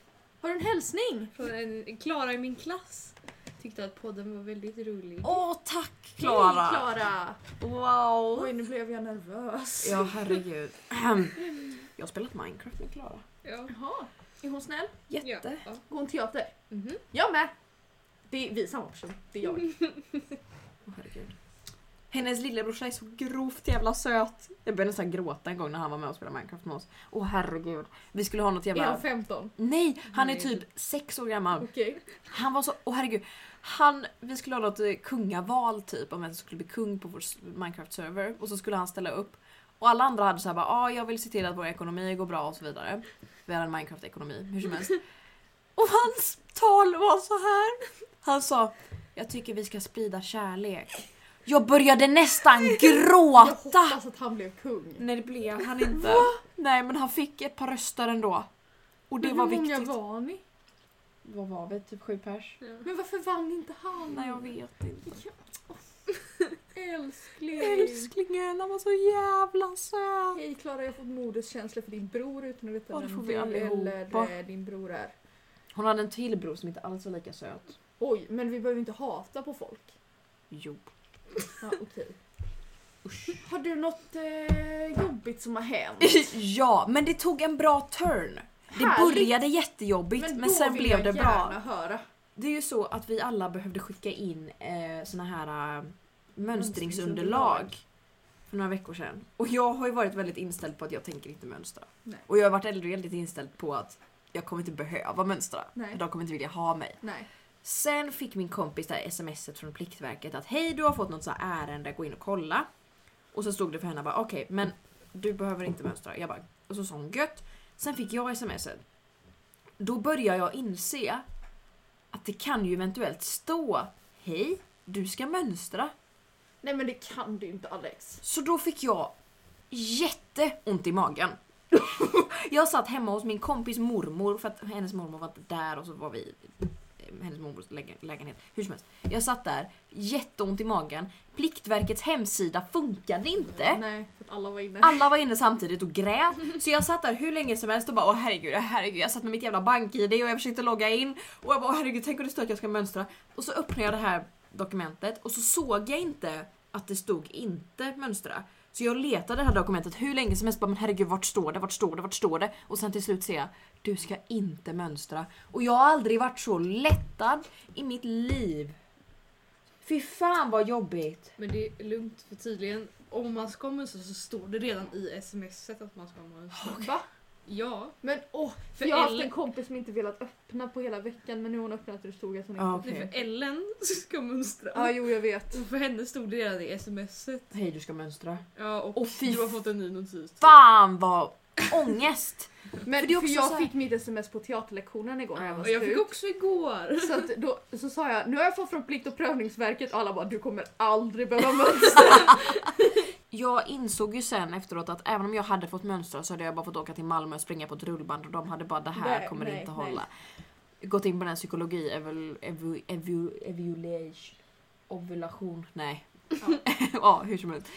A: Har du en hälsning?
C: från en en Klara i min klass. Tyckte att podden var väldigt rolig.
B: Åh, tack
A: Hej,
B: Klara!
A: Klara!
B: Wow!
A: Oj, nu blev jag nervös.
B: Ja, herregud. Jag har spelat Minecraft med Klara.
C: Ja.
A: Jaha, är hon snäll?
C: Ja.
B: Jätte.
C: Ja.
A: Går hon teater?
C: Mhm.
A: Jag med! Det är vi är samma person, det är
B: Mm.
A: jag.
B: Åh, herregud. Hennes lillebrorsa är så grovt jävla söt. Jag började nästan gråta en gång när han var med och spelade Minecraft med oss. Åh herregud. Vi skulle ha något
A: Är
B: jävla...
A: hon 15?
B: Nej! Han är
C: Nej.
B: typ sex år gammal.
A: Okej.
B: Han var så... Åh herregud. Han... Vi skulle ha något eh, kungaval typ, om vem som skulle bli kung på vår s- Minecraft-server. Och så skulle han ställa upp. Och alla andra hade såhär bara ah, jag vill se till att vår ekonomi går bra och så vidare. Vi hade en Minecraft-ekonomi, hur som helst. Och hans tal var så här. Han sa jag tycker vi ska sprida kärlek. Jag började nästan
A: Jag
B: gråta!
A: hoppas att han blev kung.
B: Nej det blev han inte. Nej men han fick ett par röster ändå. Och det
A: Men
B: var
A: hur
B: viktigt.
A: många var ni?
B: Vad var vi? Typ sju pers?
A: Men varför vann inte han?
B: Nej jag vet inte.
A: Älskling!
B: Älsklingen, han var så jävla söt!
A: Hej Klara, jag har fått moderskänslor för din bror utan att veta
B: Ja, det får
A: vem
B: vi
A: du
B: allihopa.
A: eller eh, din bror är.
B: Hon hade en till bror som inte alls var lika söt.
A: Oj, men vi behöver inte hata på folk.
B: Jo.
A: Ja, okej. Har du något eh, jobbigt som har hänt?
B: ja, men det tog en bra turn. Det
A: Härligt.
B: började jättejobbigt men,
A: då
B: sen
A: vill
B: blev
A: jag
B: det
A: gärna
B: bra.
A: höra.
B: Det är ju så att vi alla behövde skicka in eh, såna här eh, mönstringsunderlag för några veckor sedan. Och jag har ju varit väldigt inställd på att jag tänker inte mönstra.
A: Nej.
B: Och jag har varit äldre väldigt inställd på att jag kommer inte behöva mönstra.
A: Nej.
B: De kommer inte vilja ha mig.
A: Nej.
B: Sen fick min kompis det här smset från Pliktverket att hej du har fått något så här ärende, gå in och kolla. Och så stod det för henne bara okej men du behöver inte mönstra. Jag bara, och så sa hon gött. Sen fick jag smset. Då börjar jag inse att det kan ju eventuellt stå hej du ska mönstra.
A: Nej men det kan du inte Alex.
B: Så då fick jag jätteont i magen. jag satt hemma hos min kompis mormor för att hennes mormor var inte där och så var vi i eh, hennes mormors läge- lägenhet. Hur som helst. Jag satt där, jätteont i magen. Pliktverkets hemsida funkade inte. Ah,
A: Nej, för att alla var inne.
B: Alla var inne samtidigt och grät. Så jag satt där hur länge som helst och bara åh herregud, åh, herregud. Jag satt med mitt jävla bank-id och jag försökte logga in. Och jag bara åh herregud, tänk om det står att jag ska mönstra. Och så öppnade jag det här dokumentet och så såg jag inte att det stod inte mönstra. Så jag letade det här dokumentet hur länge som helst bara men herregud vart står det, vart står det, vart står det? Och sen till slut ser jag du ska inte mönstra. Och jag har aldrig varit så lättad i mitt liv. Fy fan vad jobbigt.
C: Men det är lugnt för tydligen om man ska ha mönster så står det redan i smset att man ska ha mönster.
A: Va?
C: Ja,
A: Men åh,
C: För
A: jag har haft
C: Ellen-
A: en kompis som inte velat öppna på hela veckan men nu har hon öppnat och det stod att hon inte...
B: Ja,
A: Ja,
C: det är
B: okej. Mm.
C: för Ellen som ska mönstra.
A: jo jag vet.
C: Och för henne stod det redan i smset.
B: Hej du ska mönstra.
C: Ja, och
B: Åh, fy
C: du har fått en ny notis.
B: Fan vad ångest!
A: Men
B: För
A: för,
B: det är också
A: jag
B: så här-
A: fick mitt sms på teaterlektionen igår när jag var
C: Och jag fick
A: slut.
C: också igår.
A: Så, att då, så sa jag, nu har jag fått från Plikt och prövningsverket och alla bara du kommer aldrig behöva mönstra.
B: Jag insåg ju sen efteråt att även om jag hade fått mönstra så hade jag bara fått åka till Malmö och springa på ett rullband och de hade bara det här
A: Nej,
B: kommer
A: nej,
B: inte
A: nej.
B: hålla. Gått in på den här psykologi, evul, evu, evu, evulation, ovulation, nej. Ja. hur som helst.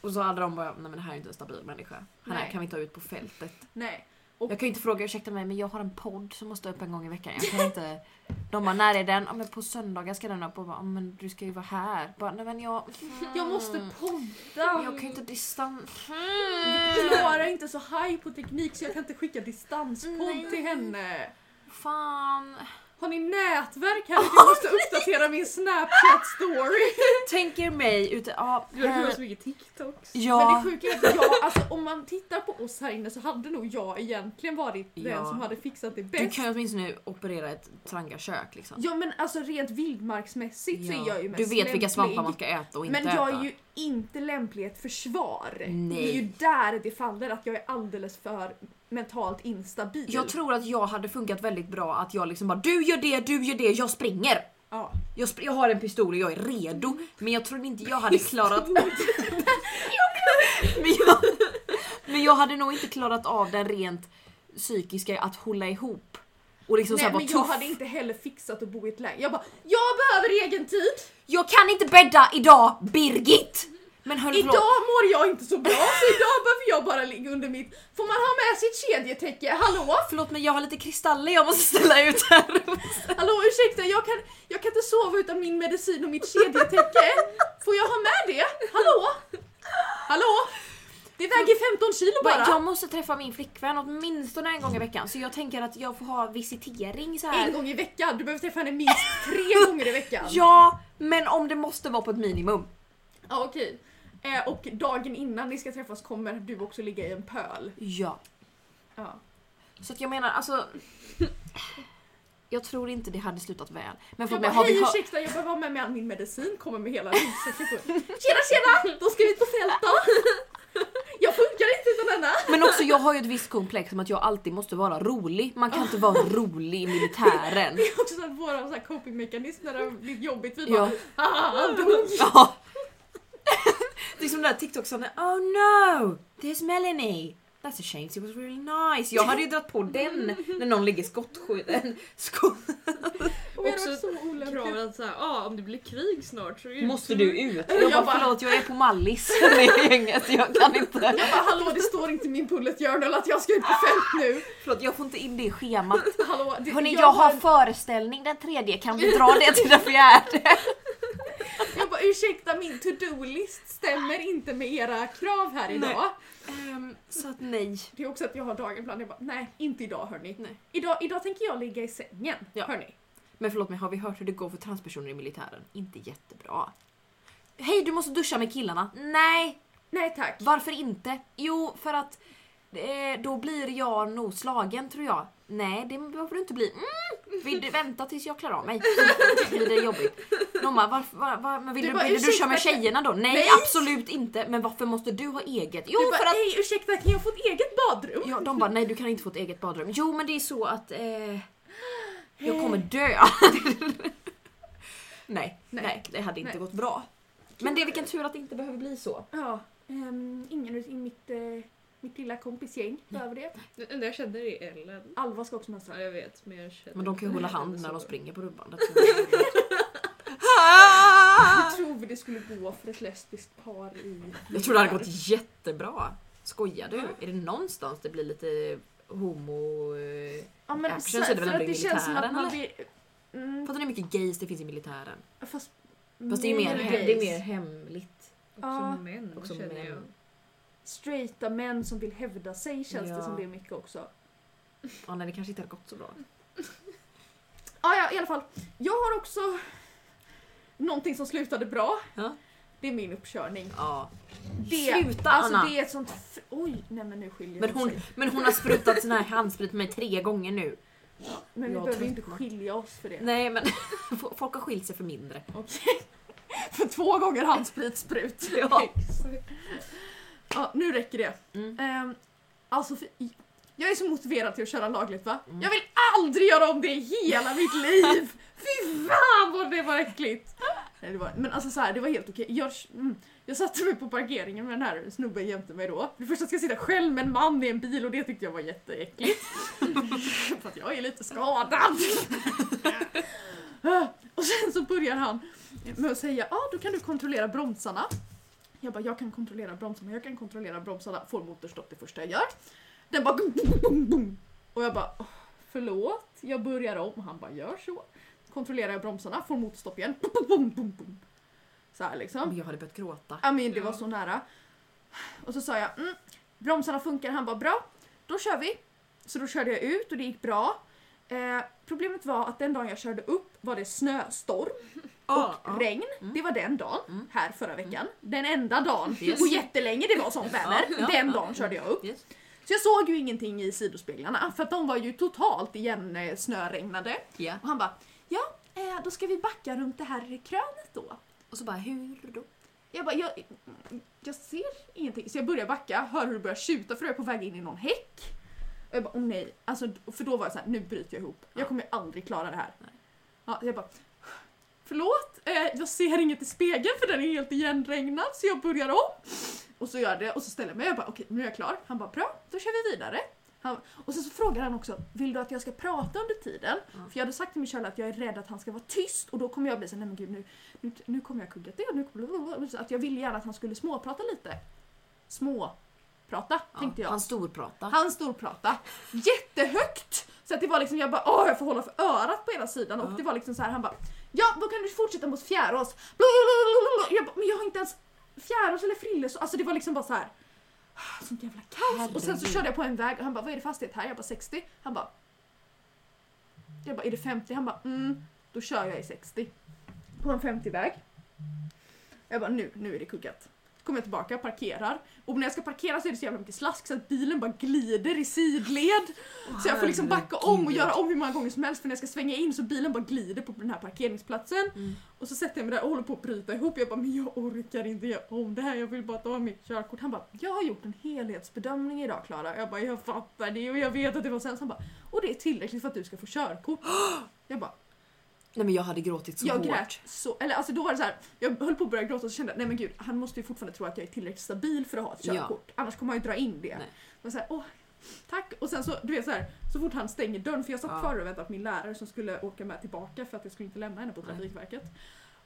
B: Och så hade de bara, nej men det här är inte en stabil människa. Han här
A: Nej.
B: kan vi ta ut på fältet.
A: Nej.
B: Jag kan ju inte fråga ursäkta mig men jag har en podd som måste upp en gång i veckan. Jag kan inte... De bara när är den? Ja, men på söndagar ska den upp och bara, "Ja, men du ska ju vara här. Bara, nej, men jag... Mm.
A: Jag måste podda.
B: Jag kan ju inte distans... Mm.
A: Klara är inte så high på teknik så jag kan inte skicka distanspodd
B: Nej.
A: till henne.
B: Fan.
A: Har ni nätverk här? Jag måste uppdatera min snapchat story.
B: Tänker mig ute... Ja.
C: Du har gjort
B: här-
C: så mycket TikToks.
B: ja.
A: eh, Men det sjuka är att jag, alltså, om man tittar på oss här inne så hade nog jag egentligen varit
B: Ja.
A: den som hade fixat det
B: Du
A: bäst.
B: kan ju åtminstone operera ett trangarkök liksom.
A: Ja men alltså rent vildmarksmässigt så är jag ju mest
B: du vet vilka
A: lämplig.
B: svampar man ska äta och inte
A: Men jag
B: äta.
A: är ju inte lämplig i ett försvar. Det är
B: Nej.
A: ju där det faller att jag är alldeles för mentalt instabil.
B: Jag tror att jag hade funkat väldigt bra att jag liksom bara du gör det, du gör det, jag springer.
A: ja.
B: Jag, spr- jag har en pistol och jag är redo men jag trodde inte Mm. jag hade klarat men, jag, men jag hade nog inte klarat av den rent psykiska att hålla ihop och liksom
A: Nej men
B: såhär vara
A: jag
B: tuff.
A: hade inte heller fixat att bo i ett läger. Jag bara jag behöver egen tid.
B: Jag kan inte bädda idag Birgit! Men hörni
A: Idag
B: förlåt.
A: mår jag inte så bra så idag behöver jag bara ligga under mitt. Får man ha med sitt kedjetäcke? Hallå?
B: förlåt men jag har lite kristaller jag måste ställa ut här.
A: Hallå ursäkta, jag kan, jag kan inte sova utan min medicin och mitt kedjetäcke. Får jag ha med det? Hallå? Hallå? Det väger 15 kilo bara.
B: Jag måste träffa min flickvän åtminstone en gång i veckan så jag tänker att jag får ha visitering så
A: En
B: här.
A: gång i veckan, du behöver träffa henne minst tre gånger i veckan.
B: Ja, men om det måste vara på ett minimum.
A: Ja, okej. Eh, och dagen innan ni ska träffas kommer du också ligga i en pöl.
B: Ja.
A: Ja.
B: Så att jag menar alltså... Jag tror inte det hade slutat väl. Men
A: Jag
B: förlåt,
A: bara,
B: men har vi
A: hej
B: hört...
A: ursäkta jag behöver ha med mig all min medicin, kommer med hela ryggsäcken full. Tjena tjena! Då ska vi ut på fält då! Jag funkar inte utan denna!
B: Men också jag har ju ett visst komplex om att jag alltid måste vara rolig. Man kan inte vara rolig i militären.
A: Det är också så här, våra så här copingmekanism när det har blivit jobbigt, vi bara
B: Ja.
A: "Ah, han dog!"
B: ja. Det är som den där TikTok-sången Oh no! There's Melanie! That's a shame, she was really nice. Jag hade ju dragit på den när någon ligger skottskjuten. Skott...
A: Och jag
C: Också
A: var så olämplig.
C: Kravet att såhär, ah, om det blir krig snart så är det
B: Måste du ut?
A: Jag
B: Jag bara,
A: bara-
B: förlåt jag är på Mallis med gänget. Jag kan inte.
A: Jag bara hallå det står inte i min bullet journal att jag ska ut på fält nu.
B: Förlåt jag får inte in det i schemat.
A: Hallå, det,
B: Hörni, jag har
A: bara-
B: föreställning den tredje, kan vi dra det till den fjärde?
A: jag bara ursäkta min to-do-list stämmer inte med era krav här
B: Nej.
A: idag.
B: Ehm, så att nej.
A: Det är också att jag har dagen ibland, jag bara nej inte idag hörni.
B: Nej.
A: Idag, idag tänker jag ligga i sängen
B: Ja.
A: hörni.
B: Men förlåt mig, har vi hört hur det går för transpersoner i militären? Inte jättebra. Hej, du måste duscha med killarna. Nej,
A: Nej tack.
B: varför inte? Jo, för att eh, då blir jag nog slagen tror jag. Nej, det behöver du inte bli. Mm, vill du vänta tills jag klarar av mig? Då blir det jobbigt. Nomma, varför, var, var, men vill
A: Du
B: du,
A: bara,
B: vill du duscha med
A: ursäkta,
B: tjejerna då? Nej,
A: Nej.
B: absolut inte. Men varför måste du ha eget? Jo,
A: Du bara
B: för att
A: hej ursäkta kan jag få ett eget badrum?
B: Ja, de bara nej du kan inte få ett eget badrum. Jo men det är så att eh,
A: Eh.
B: jag kommer dö. nej, nej, det hade inte
A: Nej.
B: gått bra. Men det är vilken tur att det inte behöver bli så.
A: Ja, ehm, ingen i mitt, eh, mitt lilla kompisgäng
B: Mm.
A: behöver det.
C: Det enda jag känner är Ellen.
A: Alva ska också
C: Ja,
A: mönstra.
C: jag vet men jag känner
B: Men de kan ju hålla hand när
C: Så.
B: de springer på rullbandet.
A: Hur tror vi det skulle gå för ett lesbiskt par i...
B: jag tror det hade gått jättebra. Skojar du? Är det någonstans det blir lite homo... eh,
A: Ja men
B: Action
A: så,
B: så är det väl
A: för att
B: ändå i
A: det känns som att
B: militären,
A: man blir... Mm,
B: Fattar ni hur mycket gays det finns i militären?
A: fast...
B: Fast det är ju mer,
A: Mm, mer
B: hem,
C: gays.
B: det är mer hemligt.
C: Också
A: Ja.
C: män
B: Också
C: känner
B: män.
C: jag.
A: Straighta män som vill hävda sig känns
B: Ja.
A: det som det är mycket också.
B: Ja, nej, det kanske inte hade gått så bra.
A: Ah, ja, i alla fall. Jag har också någonting som slutade bra.
B: Ja.
A: Det är min uppkörning.
B: Ja.
A: Det,
B: Sluta,
A: alltså,
B: Anna.
A: Det är ett sånt... fr- Oj, nej men nu skiljer
B: Men
A: de
B: hon,
A: sig.
B: men hon har sprutat sån här handsprit på mig tre gånger nu.
A: Men vi
B: Jag
A: behöver
B: tror
A: inte
B: inte man-
A: skilja oss för det.
B: Nej men folk har skilt sig för mindre.
A: Okej. för två gånger handspritssprut.
B: Ja.
A: Ja, nu räcker det.
B: Mm.
A: Ehm, alltså, för, jag är så motiverad till att köra lagligt va?
B: Mm.
A: Jag vill aldrig göra om det i hela mitt liv! Fy fan vad det var äckligt! Nej, det var, men alltså så här, det var helt okej. Jag, mm, jag satte mig på parkeringen med den här snubben jämte mig då. För det första ska jag sitta själv med en man i en bil och det tyckte jag var jätteäckligt. För att jag är lite skadad. och sen så börjar han med att säga ja ah, då kan du kontrollera bromsarna. Jag bara, jag kan kontrollera bromsarna, jag kan kontrollera bromsarna. Får motorstopp det första jag gör. Den bara... Boom, boom, boom, boom. Och jag bara, "Åh, förlåt, jag börjar om. Och han bara, gör så. Kontrollerar jag bromsarna, får motorstopp igen. Boom, boom, boom, boom, boom. Så här liksom.
B: Jag hade börjat gråta.
A: Ja men det
C: Ja.
A: var så nära. Och så sa jag, mm, bromsarna funkar, han bara bra, då kör vi. Så då körde jag ut och det gick bra. Eh, problemet var att den dagen jag körde upp var det snöstorm
B: Ja,
A: och
B: ja.
A: regn.
B: Mm.
A: Det var den dagen,
B: Mm.
A: här förra veckan. Den enda dagen
B: Yes.
A: på jättelänge det var sånt väder.
B: Ja, ja,
A: den
B: ja.
A: dagen körde jag upp.
B: Yes.
A: Så jag såg ju ingenting i sidospeglarna för att de var ju totalt igen eh, snöregnade.
B: Ja.
A: Och han bara, ja eh, då ska vi backa runt det här krönet då.
B: Och så bara hur då?
A: Jag bara, jag, jag ser ingenting. Så jag börjar backa, hör hur det börjar tjuta för då är jag på väg in i någon häck. Och jag bara, åh nej. Alltså, för då var jag så här, nu bryter jag ihop. Jag kommer ju aldrig klara det här. Ja, så jag bara, förlåt, eh, jag ser inget i spegeln för den är helt igenregnad så jag börjar om. Och så gör jag det och så ställer jag mig jag bara, okej nu är jag klar. Han bara, bra, då kör vi vidare. Han, och sen så frågar han också, vill du att jag ska prata under tiden?
B: Ja.
A: För jag hade sagt till min Charlie att jag är rädd att han ska vara tyst och då kommer jag bli så här, nej men gud nu, nu, nu kommer jag kugga det och nu kommer så att jag ville gärna att han skulle småprata lite. Småprata,
B: Ja,
A: tänkte jag.
B: Han storpratar.
A: Han storprata jättehögt! Så att det var liksom, jag bara åh jag får hålla för örat på ena sidan och
B: Ja.
A: det var liksom så här han bara ja då kan du fortsätta mot fjärås. Blablabla. Jag bara, men jag har inte ens fjärås eller frillesås, alltså det var liksom bara så här. "Ah, Sånt jävla kaos! Alltså, Och sen så
B: Herregud.
A: körde jag på en väg och han bara vad är det för hastighet här? Jag bara 60. Han bara jag bara är det 50? Han bara mm, då kör jag i 60. På en 50-väg. Jag bara nu, nu är det kuggat. Så kommer jag tillbaka, parkerar. Och när jag ska parkera så är det så jävla mycket slask så att bilen bara glider i sidled. Så jag får liksom backa om och
B: herregud.
A: göra om hur många gånger som helst för när jag ska svänga in så bilen bara glider på den här parkeringsplatsen.
B: Mm.
A: Och så sätter jag mig där och håller på att bryta ihop. Jag bara, men jag orkar inte göra om det här. Jag vill bara ta mitt körkort. Han bara, jag har gjort en helhetsbedömning idag Klara. Jag bara, jag fattar det och jag vet att det var sen. Så han bara, och det är tillräckligt för att du ska få körkort. Jag bara,
B: Nej men jag hade gråtit så
A: jag
B: hårt.
A: grät så, eller alltså då var det så här, jag höll på att börja gråta och så kände jag, nej men gud han måste ju fortfarande tro att jag är tillräckligt stabil för att ha ett
B: Ja.
A: körkort. Annars kommer han ju dra in det.
B: Nej.
A: Men så här, åh, tack! Och sen så, du vet så här, så fort han stänger dörren, för jag satt
B: Ja.
A: kvar och väntade på min lärare som skulle åka med tillbaka för att jag skulle inte lämna henne på Trafikverket.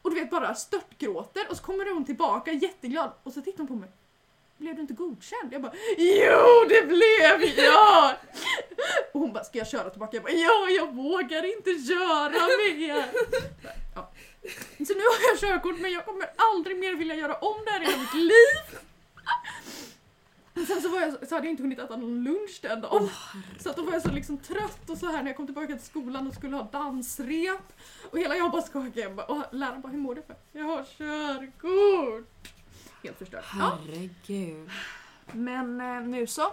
A: Och du vet bara störtgråter och så kommer hon tillbaka jätteglad och så tittar hon på mig. Blev du inte godkänd? Jag bara JO det blev jag! och hon bara ska jag köra tillbaka? Jag bara ja jag vågar inte köra mer! ja. Så nu har jag körkort men jag kommer aldrig mer vilja göra om det här i hela mitt liv! Men Sen så, var jag, så hade jag inte hunnit äta någon lunch den dagen. så att då var jag så liksom trött och så här när jag kom tillbaka till skolan och skulle ha dansrep. Och hela jag bara skakade. Jag bara, och läraren bara, hur mår du? för? Jag har körkort! Helt förstörd. Ja.
B: Herregud.
A: Men eh, nu så.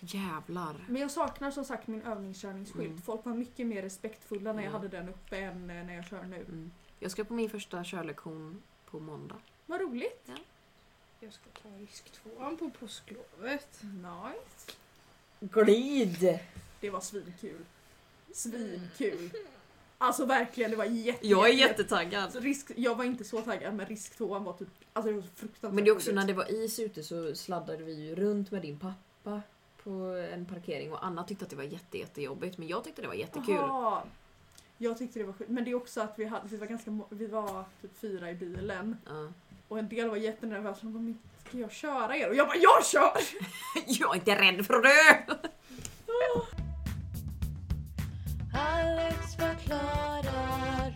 B: Jävlar.
A: Men jag saknar som sagt min övningskörningsskylt.
B: Mm.
A: Folk var mycket mer respektfulla när jag
B: Ja.
A: hade den uppe än eh, när jag kör nu.
B: Mm. Jag ska på min första körlektion på måndag.
A: Vad roligt!
C: Jag ska ta risktvåan på påsklovet.
A: Nice.
B: Glid!
A: Det var svinkul. Svinkul. Alltså verkligen, det var jätte...
B: Jag är
A: jätte-
B: jättetaggad.
A: Alltså, risk, jag var inte så taggad men risk tvåan var typ, alltså det var fruktansvärt
B: Men det är också
A: roligt.
B: när det var is ute så sladdade vi ju runt med din pappa på en parkering och Anna tyckte att det var jätte, jättejobbigt men jag tyckte det var jättekul.
A: Jaha. Jag tyckte det var sjukt, men det är också att vi, hade, vi var ganska må- vi var typ fyra i bilen
B: Ja.
A: och en del var jättenervösa och de bara "Men ska jag köra er? Och jag bara jag kör!
B: Jag är inte rädd för att dö!
E: Alex förklarar.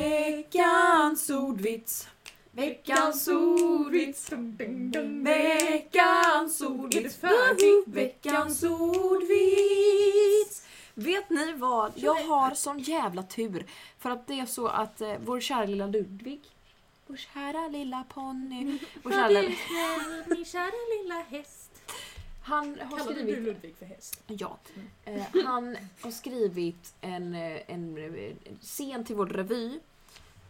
B: Veckans ordvits. Veckans ordvits.
A: Dun, dun, dun.
B: Veckans
A: Är det
B: ordvits.
A: färdigt?
B: Veckans ordvits. Vet ni vad? Jag har sån jävla tur. För att det är så att eh, vår kära lilla Ludvig, vår kära lilla ponny, vår kära lilla,
A: Min kära lilla häst.
B: han har
A: Kallade du
B: skrivit...
A: Ludvig för häst?
B: Ja. Eh, han har skrivit en, eh, en eh, scen till vår revy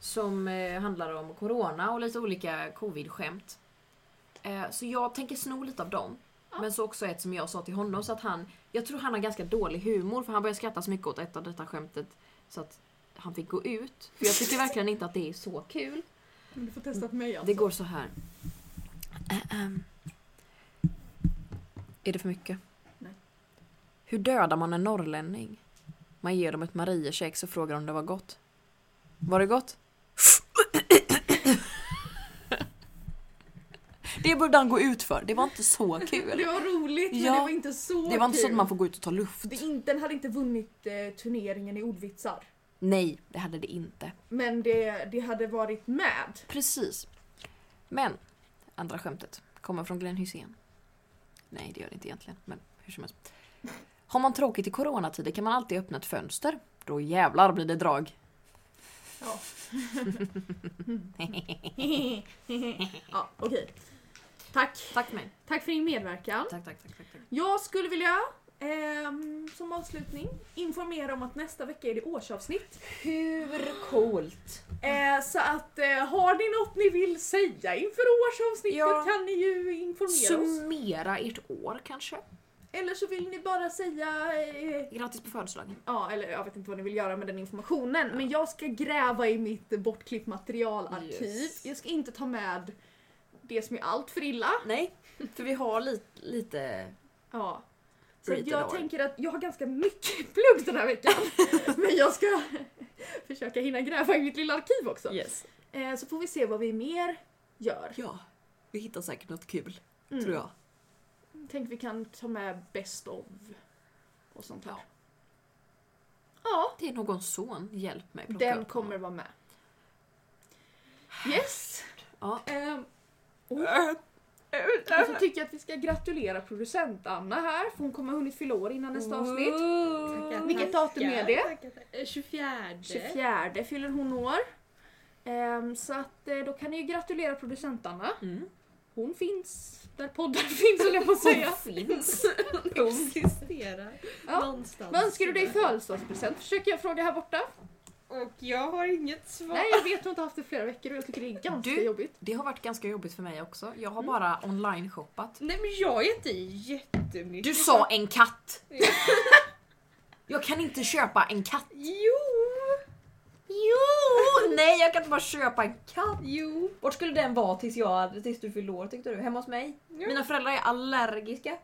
B: som eh, handlar om corona och lite olika covid-skämt. Eh, så jag tänker sno lite av dem. Men så också ett som jag sa till honom så att han, jag tror han har ganska dålig humor för han började skratta så mycket åt ett av detta skämtet så att han fick gå ut. För jag tycker verkligen inte att det är så kul.
A: Men Du får testa på mig alltså.
B: Mm. Det går så här. Ahem. Är det för mycket?
A: Nej.
B: Hur dödar man en norrlänning? Man ger dem ett mariekex och frågar om det var gott. Var det gott? Det borde han gå ut för. Det var inte så
A: Det
B: kul.
A: var roligt men
B: Ja.
A: det var inte så
B: Det var inte så att
A: kul.
B: man får gå ut och ta luft.
A: Det är inte, den hade inte vunnit eh, turneringen i ordvitsar.
B: Nej, det hade det inte.
A: Men det, det hade varit med.
B: Precis. Men, andra skämtet kommer från Glenn Hysén. Nej, det gör det inte egentligen, men hur som helst. Har man tråkigt i coronatider kan man alltid öppna ett fönster. Då jävlar blir det drag.
A: Ja. ja, okej. Tack.
B: Tack mig.
A: Tack för din medverkan.
B: Tack, tack, tack, tack, tack.
A: Jag skulle vilja ehm, som avslutning informera om att nästa vecka är det årsavsnitt.
B: Hur coolt?
A: Eh, så att eh, har ni något ni vill säga inför årsavsnittet
B: Ja.
A: kan ni ju informera oss.
B: Summera ert år kanske?
A: Eller så vill ni bara säga eh,
B: Grattis på födelsedagen.
A: Ja, eller jag vet inte vad ni vill göra med den informationen. Men jag ska gräva i mitt bortklippt materialarkiv.
B: Yes.
A: Jag ska inte ta med det som är allt för illa.
B: Nej, för vi har lite... lite...
A: Ja. Så
B: Read the
A: jag
B: door.
A: tänker att jag har ganska mycket plugg den här veckan. men jag ska försöka hinna gräva i mitt lilla arkiv också.
B: Yes.
A: Eh, så får vi se vad vi mer gör.
B: Ja, vi hittar säkert något kul,
A: Mm.
B: tror jag.
A: Tänk vi kan ta med best of och sånt här. Ja,
B: Det är någon son, hjälp mig plocka
A: den
B: upp
A: kommer
B: honom.
A: vara med. Yes!
B: Ja.
A: Ehm,
B: Oh.
A: Och så tycker jag att vi ska gratulera producent Anna här för hon kommer ha hunnit fylla år innan nästa avsnitt.
C: Tackar,
A: Vilket
C: tackar,
A: datum är det?
C: tackar, tackar. Mm. Eh, 24.
A: 24 fyller hon år. Ehm, så att eh, då kan ni ju gratulera producent Anna.
B: Mm.
A: Hon finns där poddar finns höll jag på att säga.
B: finns.
C: Existerar.
A: Ja.
C: Någonstans.
A: Vad önskar du dig i födelsedagspresent? Försöker jag fråga här borta.
C: Och jag har inget svar.
A: Nej jag vet du har inte haft det i flera veckor och jag tycker det är ganska
B: Du-
A: jobbigt.
B: Det har varit ganska jobbigt för mig också. Jag har bara online-shoppat.
C: Nej men jag är inte jättemycket.
B: Du sa en katt! Jag kan inte köpa en katt!
C: Jo!
B: Jo! Nej, jag kan inte bara köpa en katt!
C: Jo!
B: Vart skulle den vara tills, jag, tills du fyllde år tyckte du? Hemma hos mig?
C: Ja.
B: Mina föräldrar är allergiska.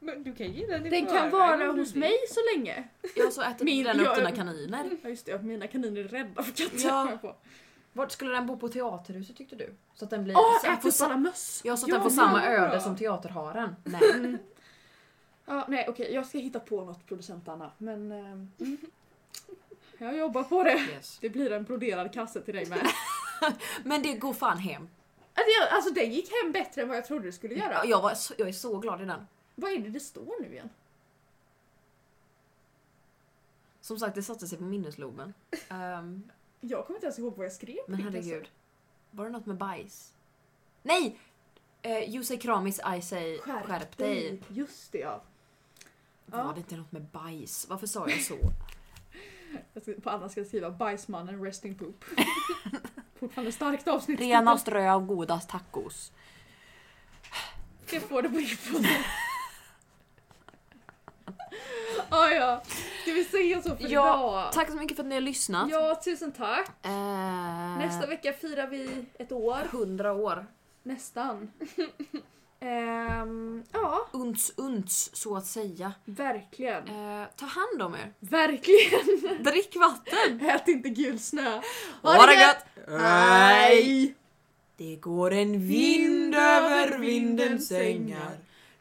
C: Men du kan ge den i
A: Den kan
C: förväg
A: vara
C: om du
A: hos
C: vill.
A: mig så länge.
B: Jag har så ätit
A: Min-
B: den upp
A: jag-
B: dina kaniner.
A: Ja just det, mina kaniner är rädda för katter.
B: Ja.
A: kom jag på.
B: Vart skulle den bo på teaterhuset tyckte du? Så att den blir...
A: Åh,
B: så att den får,
A: äter upp
B: sa-
A: alla möss!
B: ja, så att
C: Ja,
B: den får
C: men
B: samma
C: vad
B: öde
C: bra.
B: som teaterharen. Nej.
A: Mm. Ja, nej okej, jag ska hitta på något producent Anna, men... ehm, jag jobbar på det.
B: Yes.
A: Det blir en broderad kasse till dig med.
B: Men det går fan hem.
A: Alltså, jag, alltså den gick hem bättre än vad jag trodde det skulle göra.
B: Jag, var, så- jag är så glad i den.
A: Vad är det det står nu igen?
B: Som sagt, det satte sig på minnesloben. Ehm,
A: Jag kommer inte ens ihåg vad jag skrev. på
B: men
A: din
B: herregud. Var det något med bajs? Nej! Eh, you say kramis, I say
A: kassa.
B: skärp, dig.
A: Just det ja.
B: Var
A: Ja.
B: det inte något med bajs? Varför sa jag så?
A: Jag ska, på Anna ska jag skriva bajsmannen resting poop. Fortfarande starkt avsnitt.
B: Renast röv, godast tacos.
A: Jag får det på infon. ah, ja, ska vi säga så för
B: Ja,
A: idag?
B: Tack så mycket för att ni har lyssnat.
A: Ja, tusen tack.
B: Eh,
A: Nästa vecka firar vi ett år.
B: 100 år.
A: Nästan. Ehm, ja,
B: Unts, unts, så att säga.
A: verkligen.
B: Eh, ta hand om er.
A: Verkligen!
B: Drick vatten.
A: Ät inte gul snö.
B: Hej! Det går en vind över vindens sängar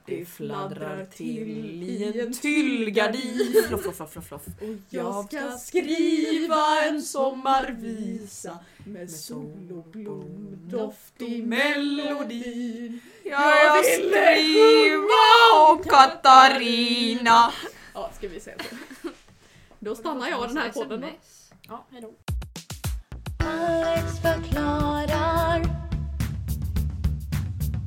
B: Det fladdrar till i en tyllgardin Floff, floff, floff, floff, floff.
A: Och
C: Jag ska skriva en sommarvisa
A: med
C: sol och
A: blomdoft
C: i melodin.
B: Jag vill skriva om Katarina
A: Ja, ska ska vi säga så. Då stannar jag den här podden då.
B: Ja, hejdå.
E: Alex förklarar.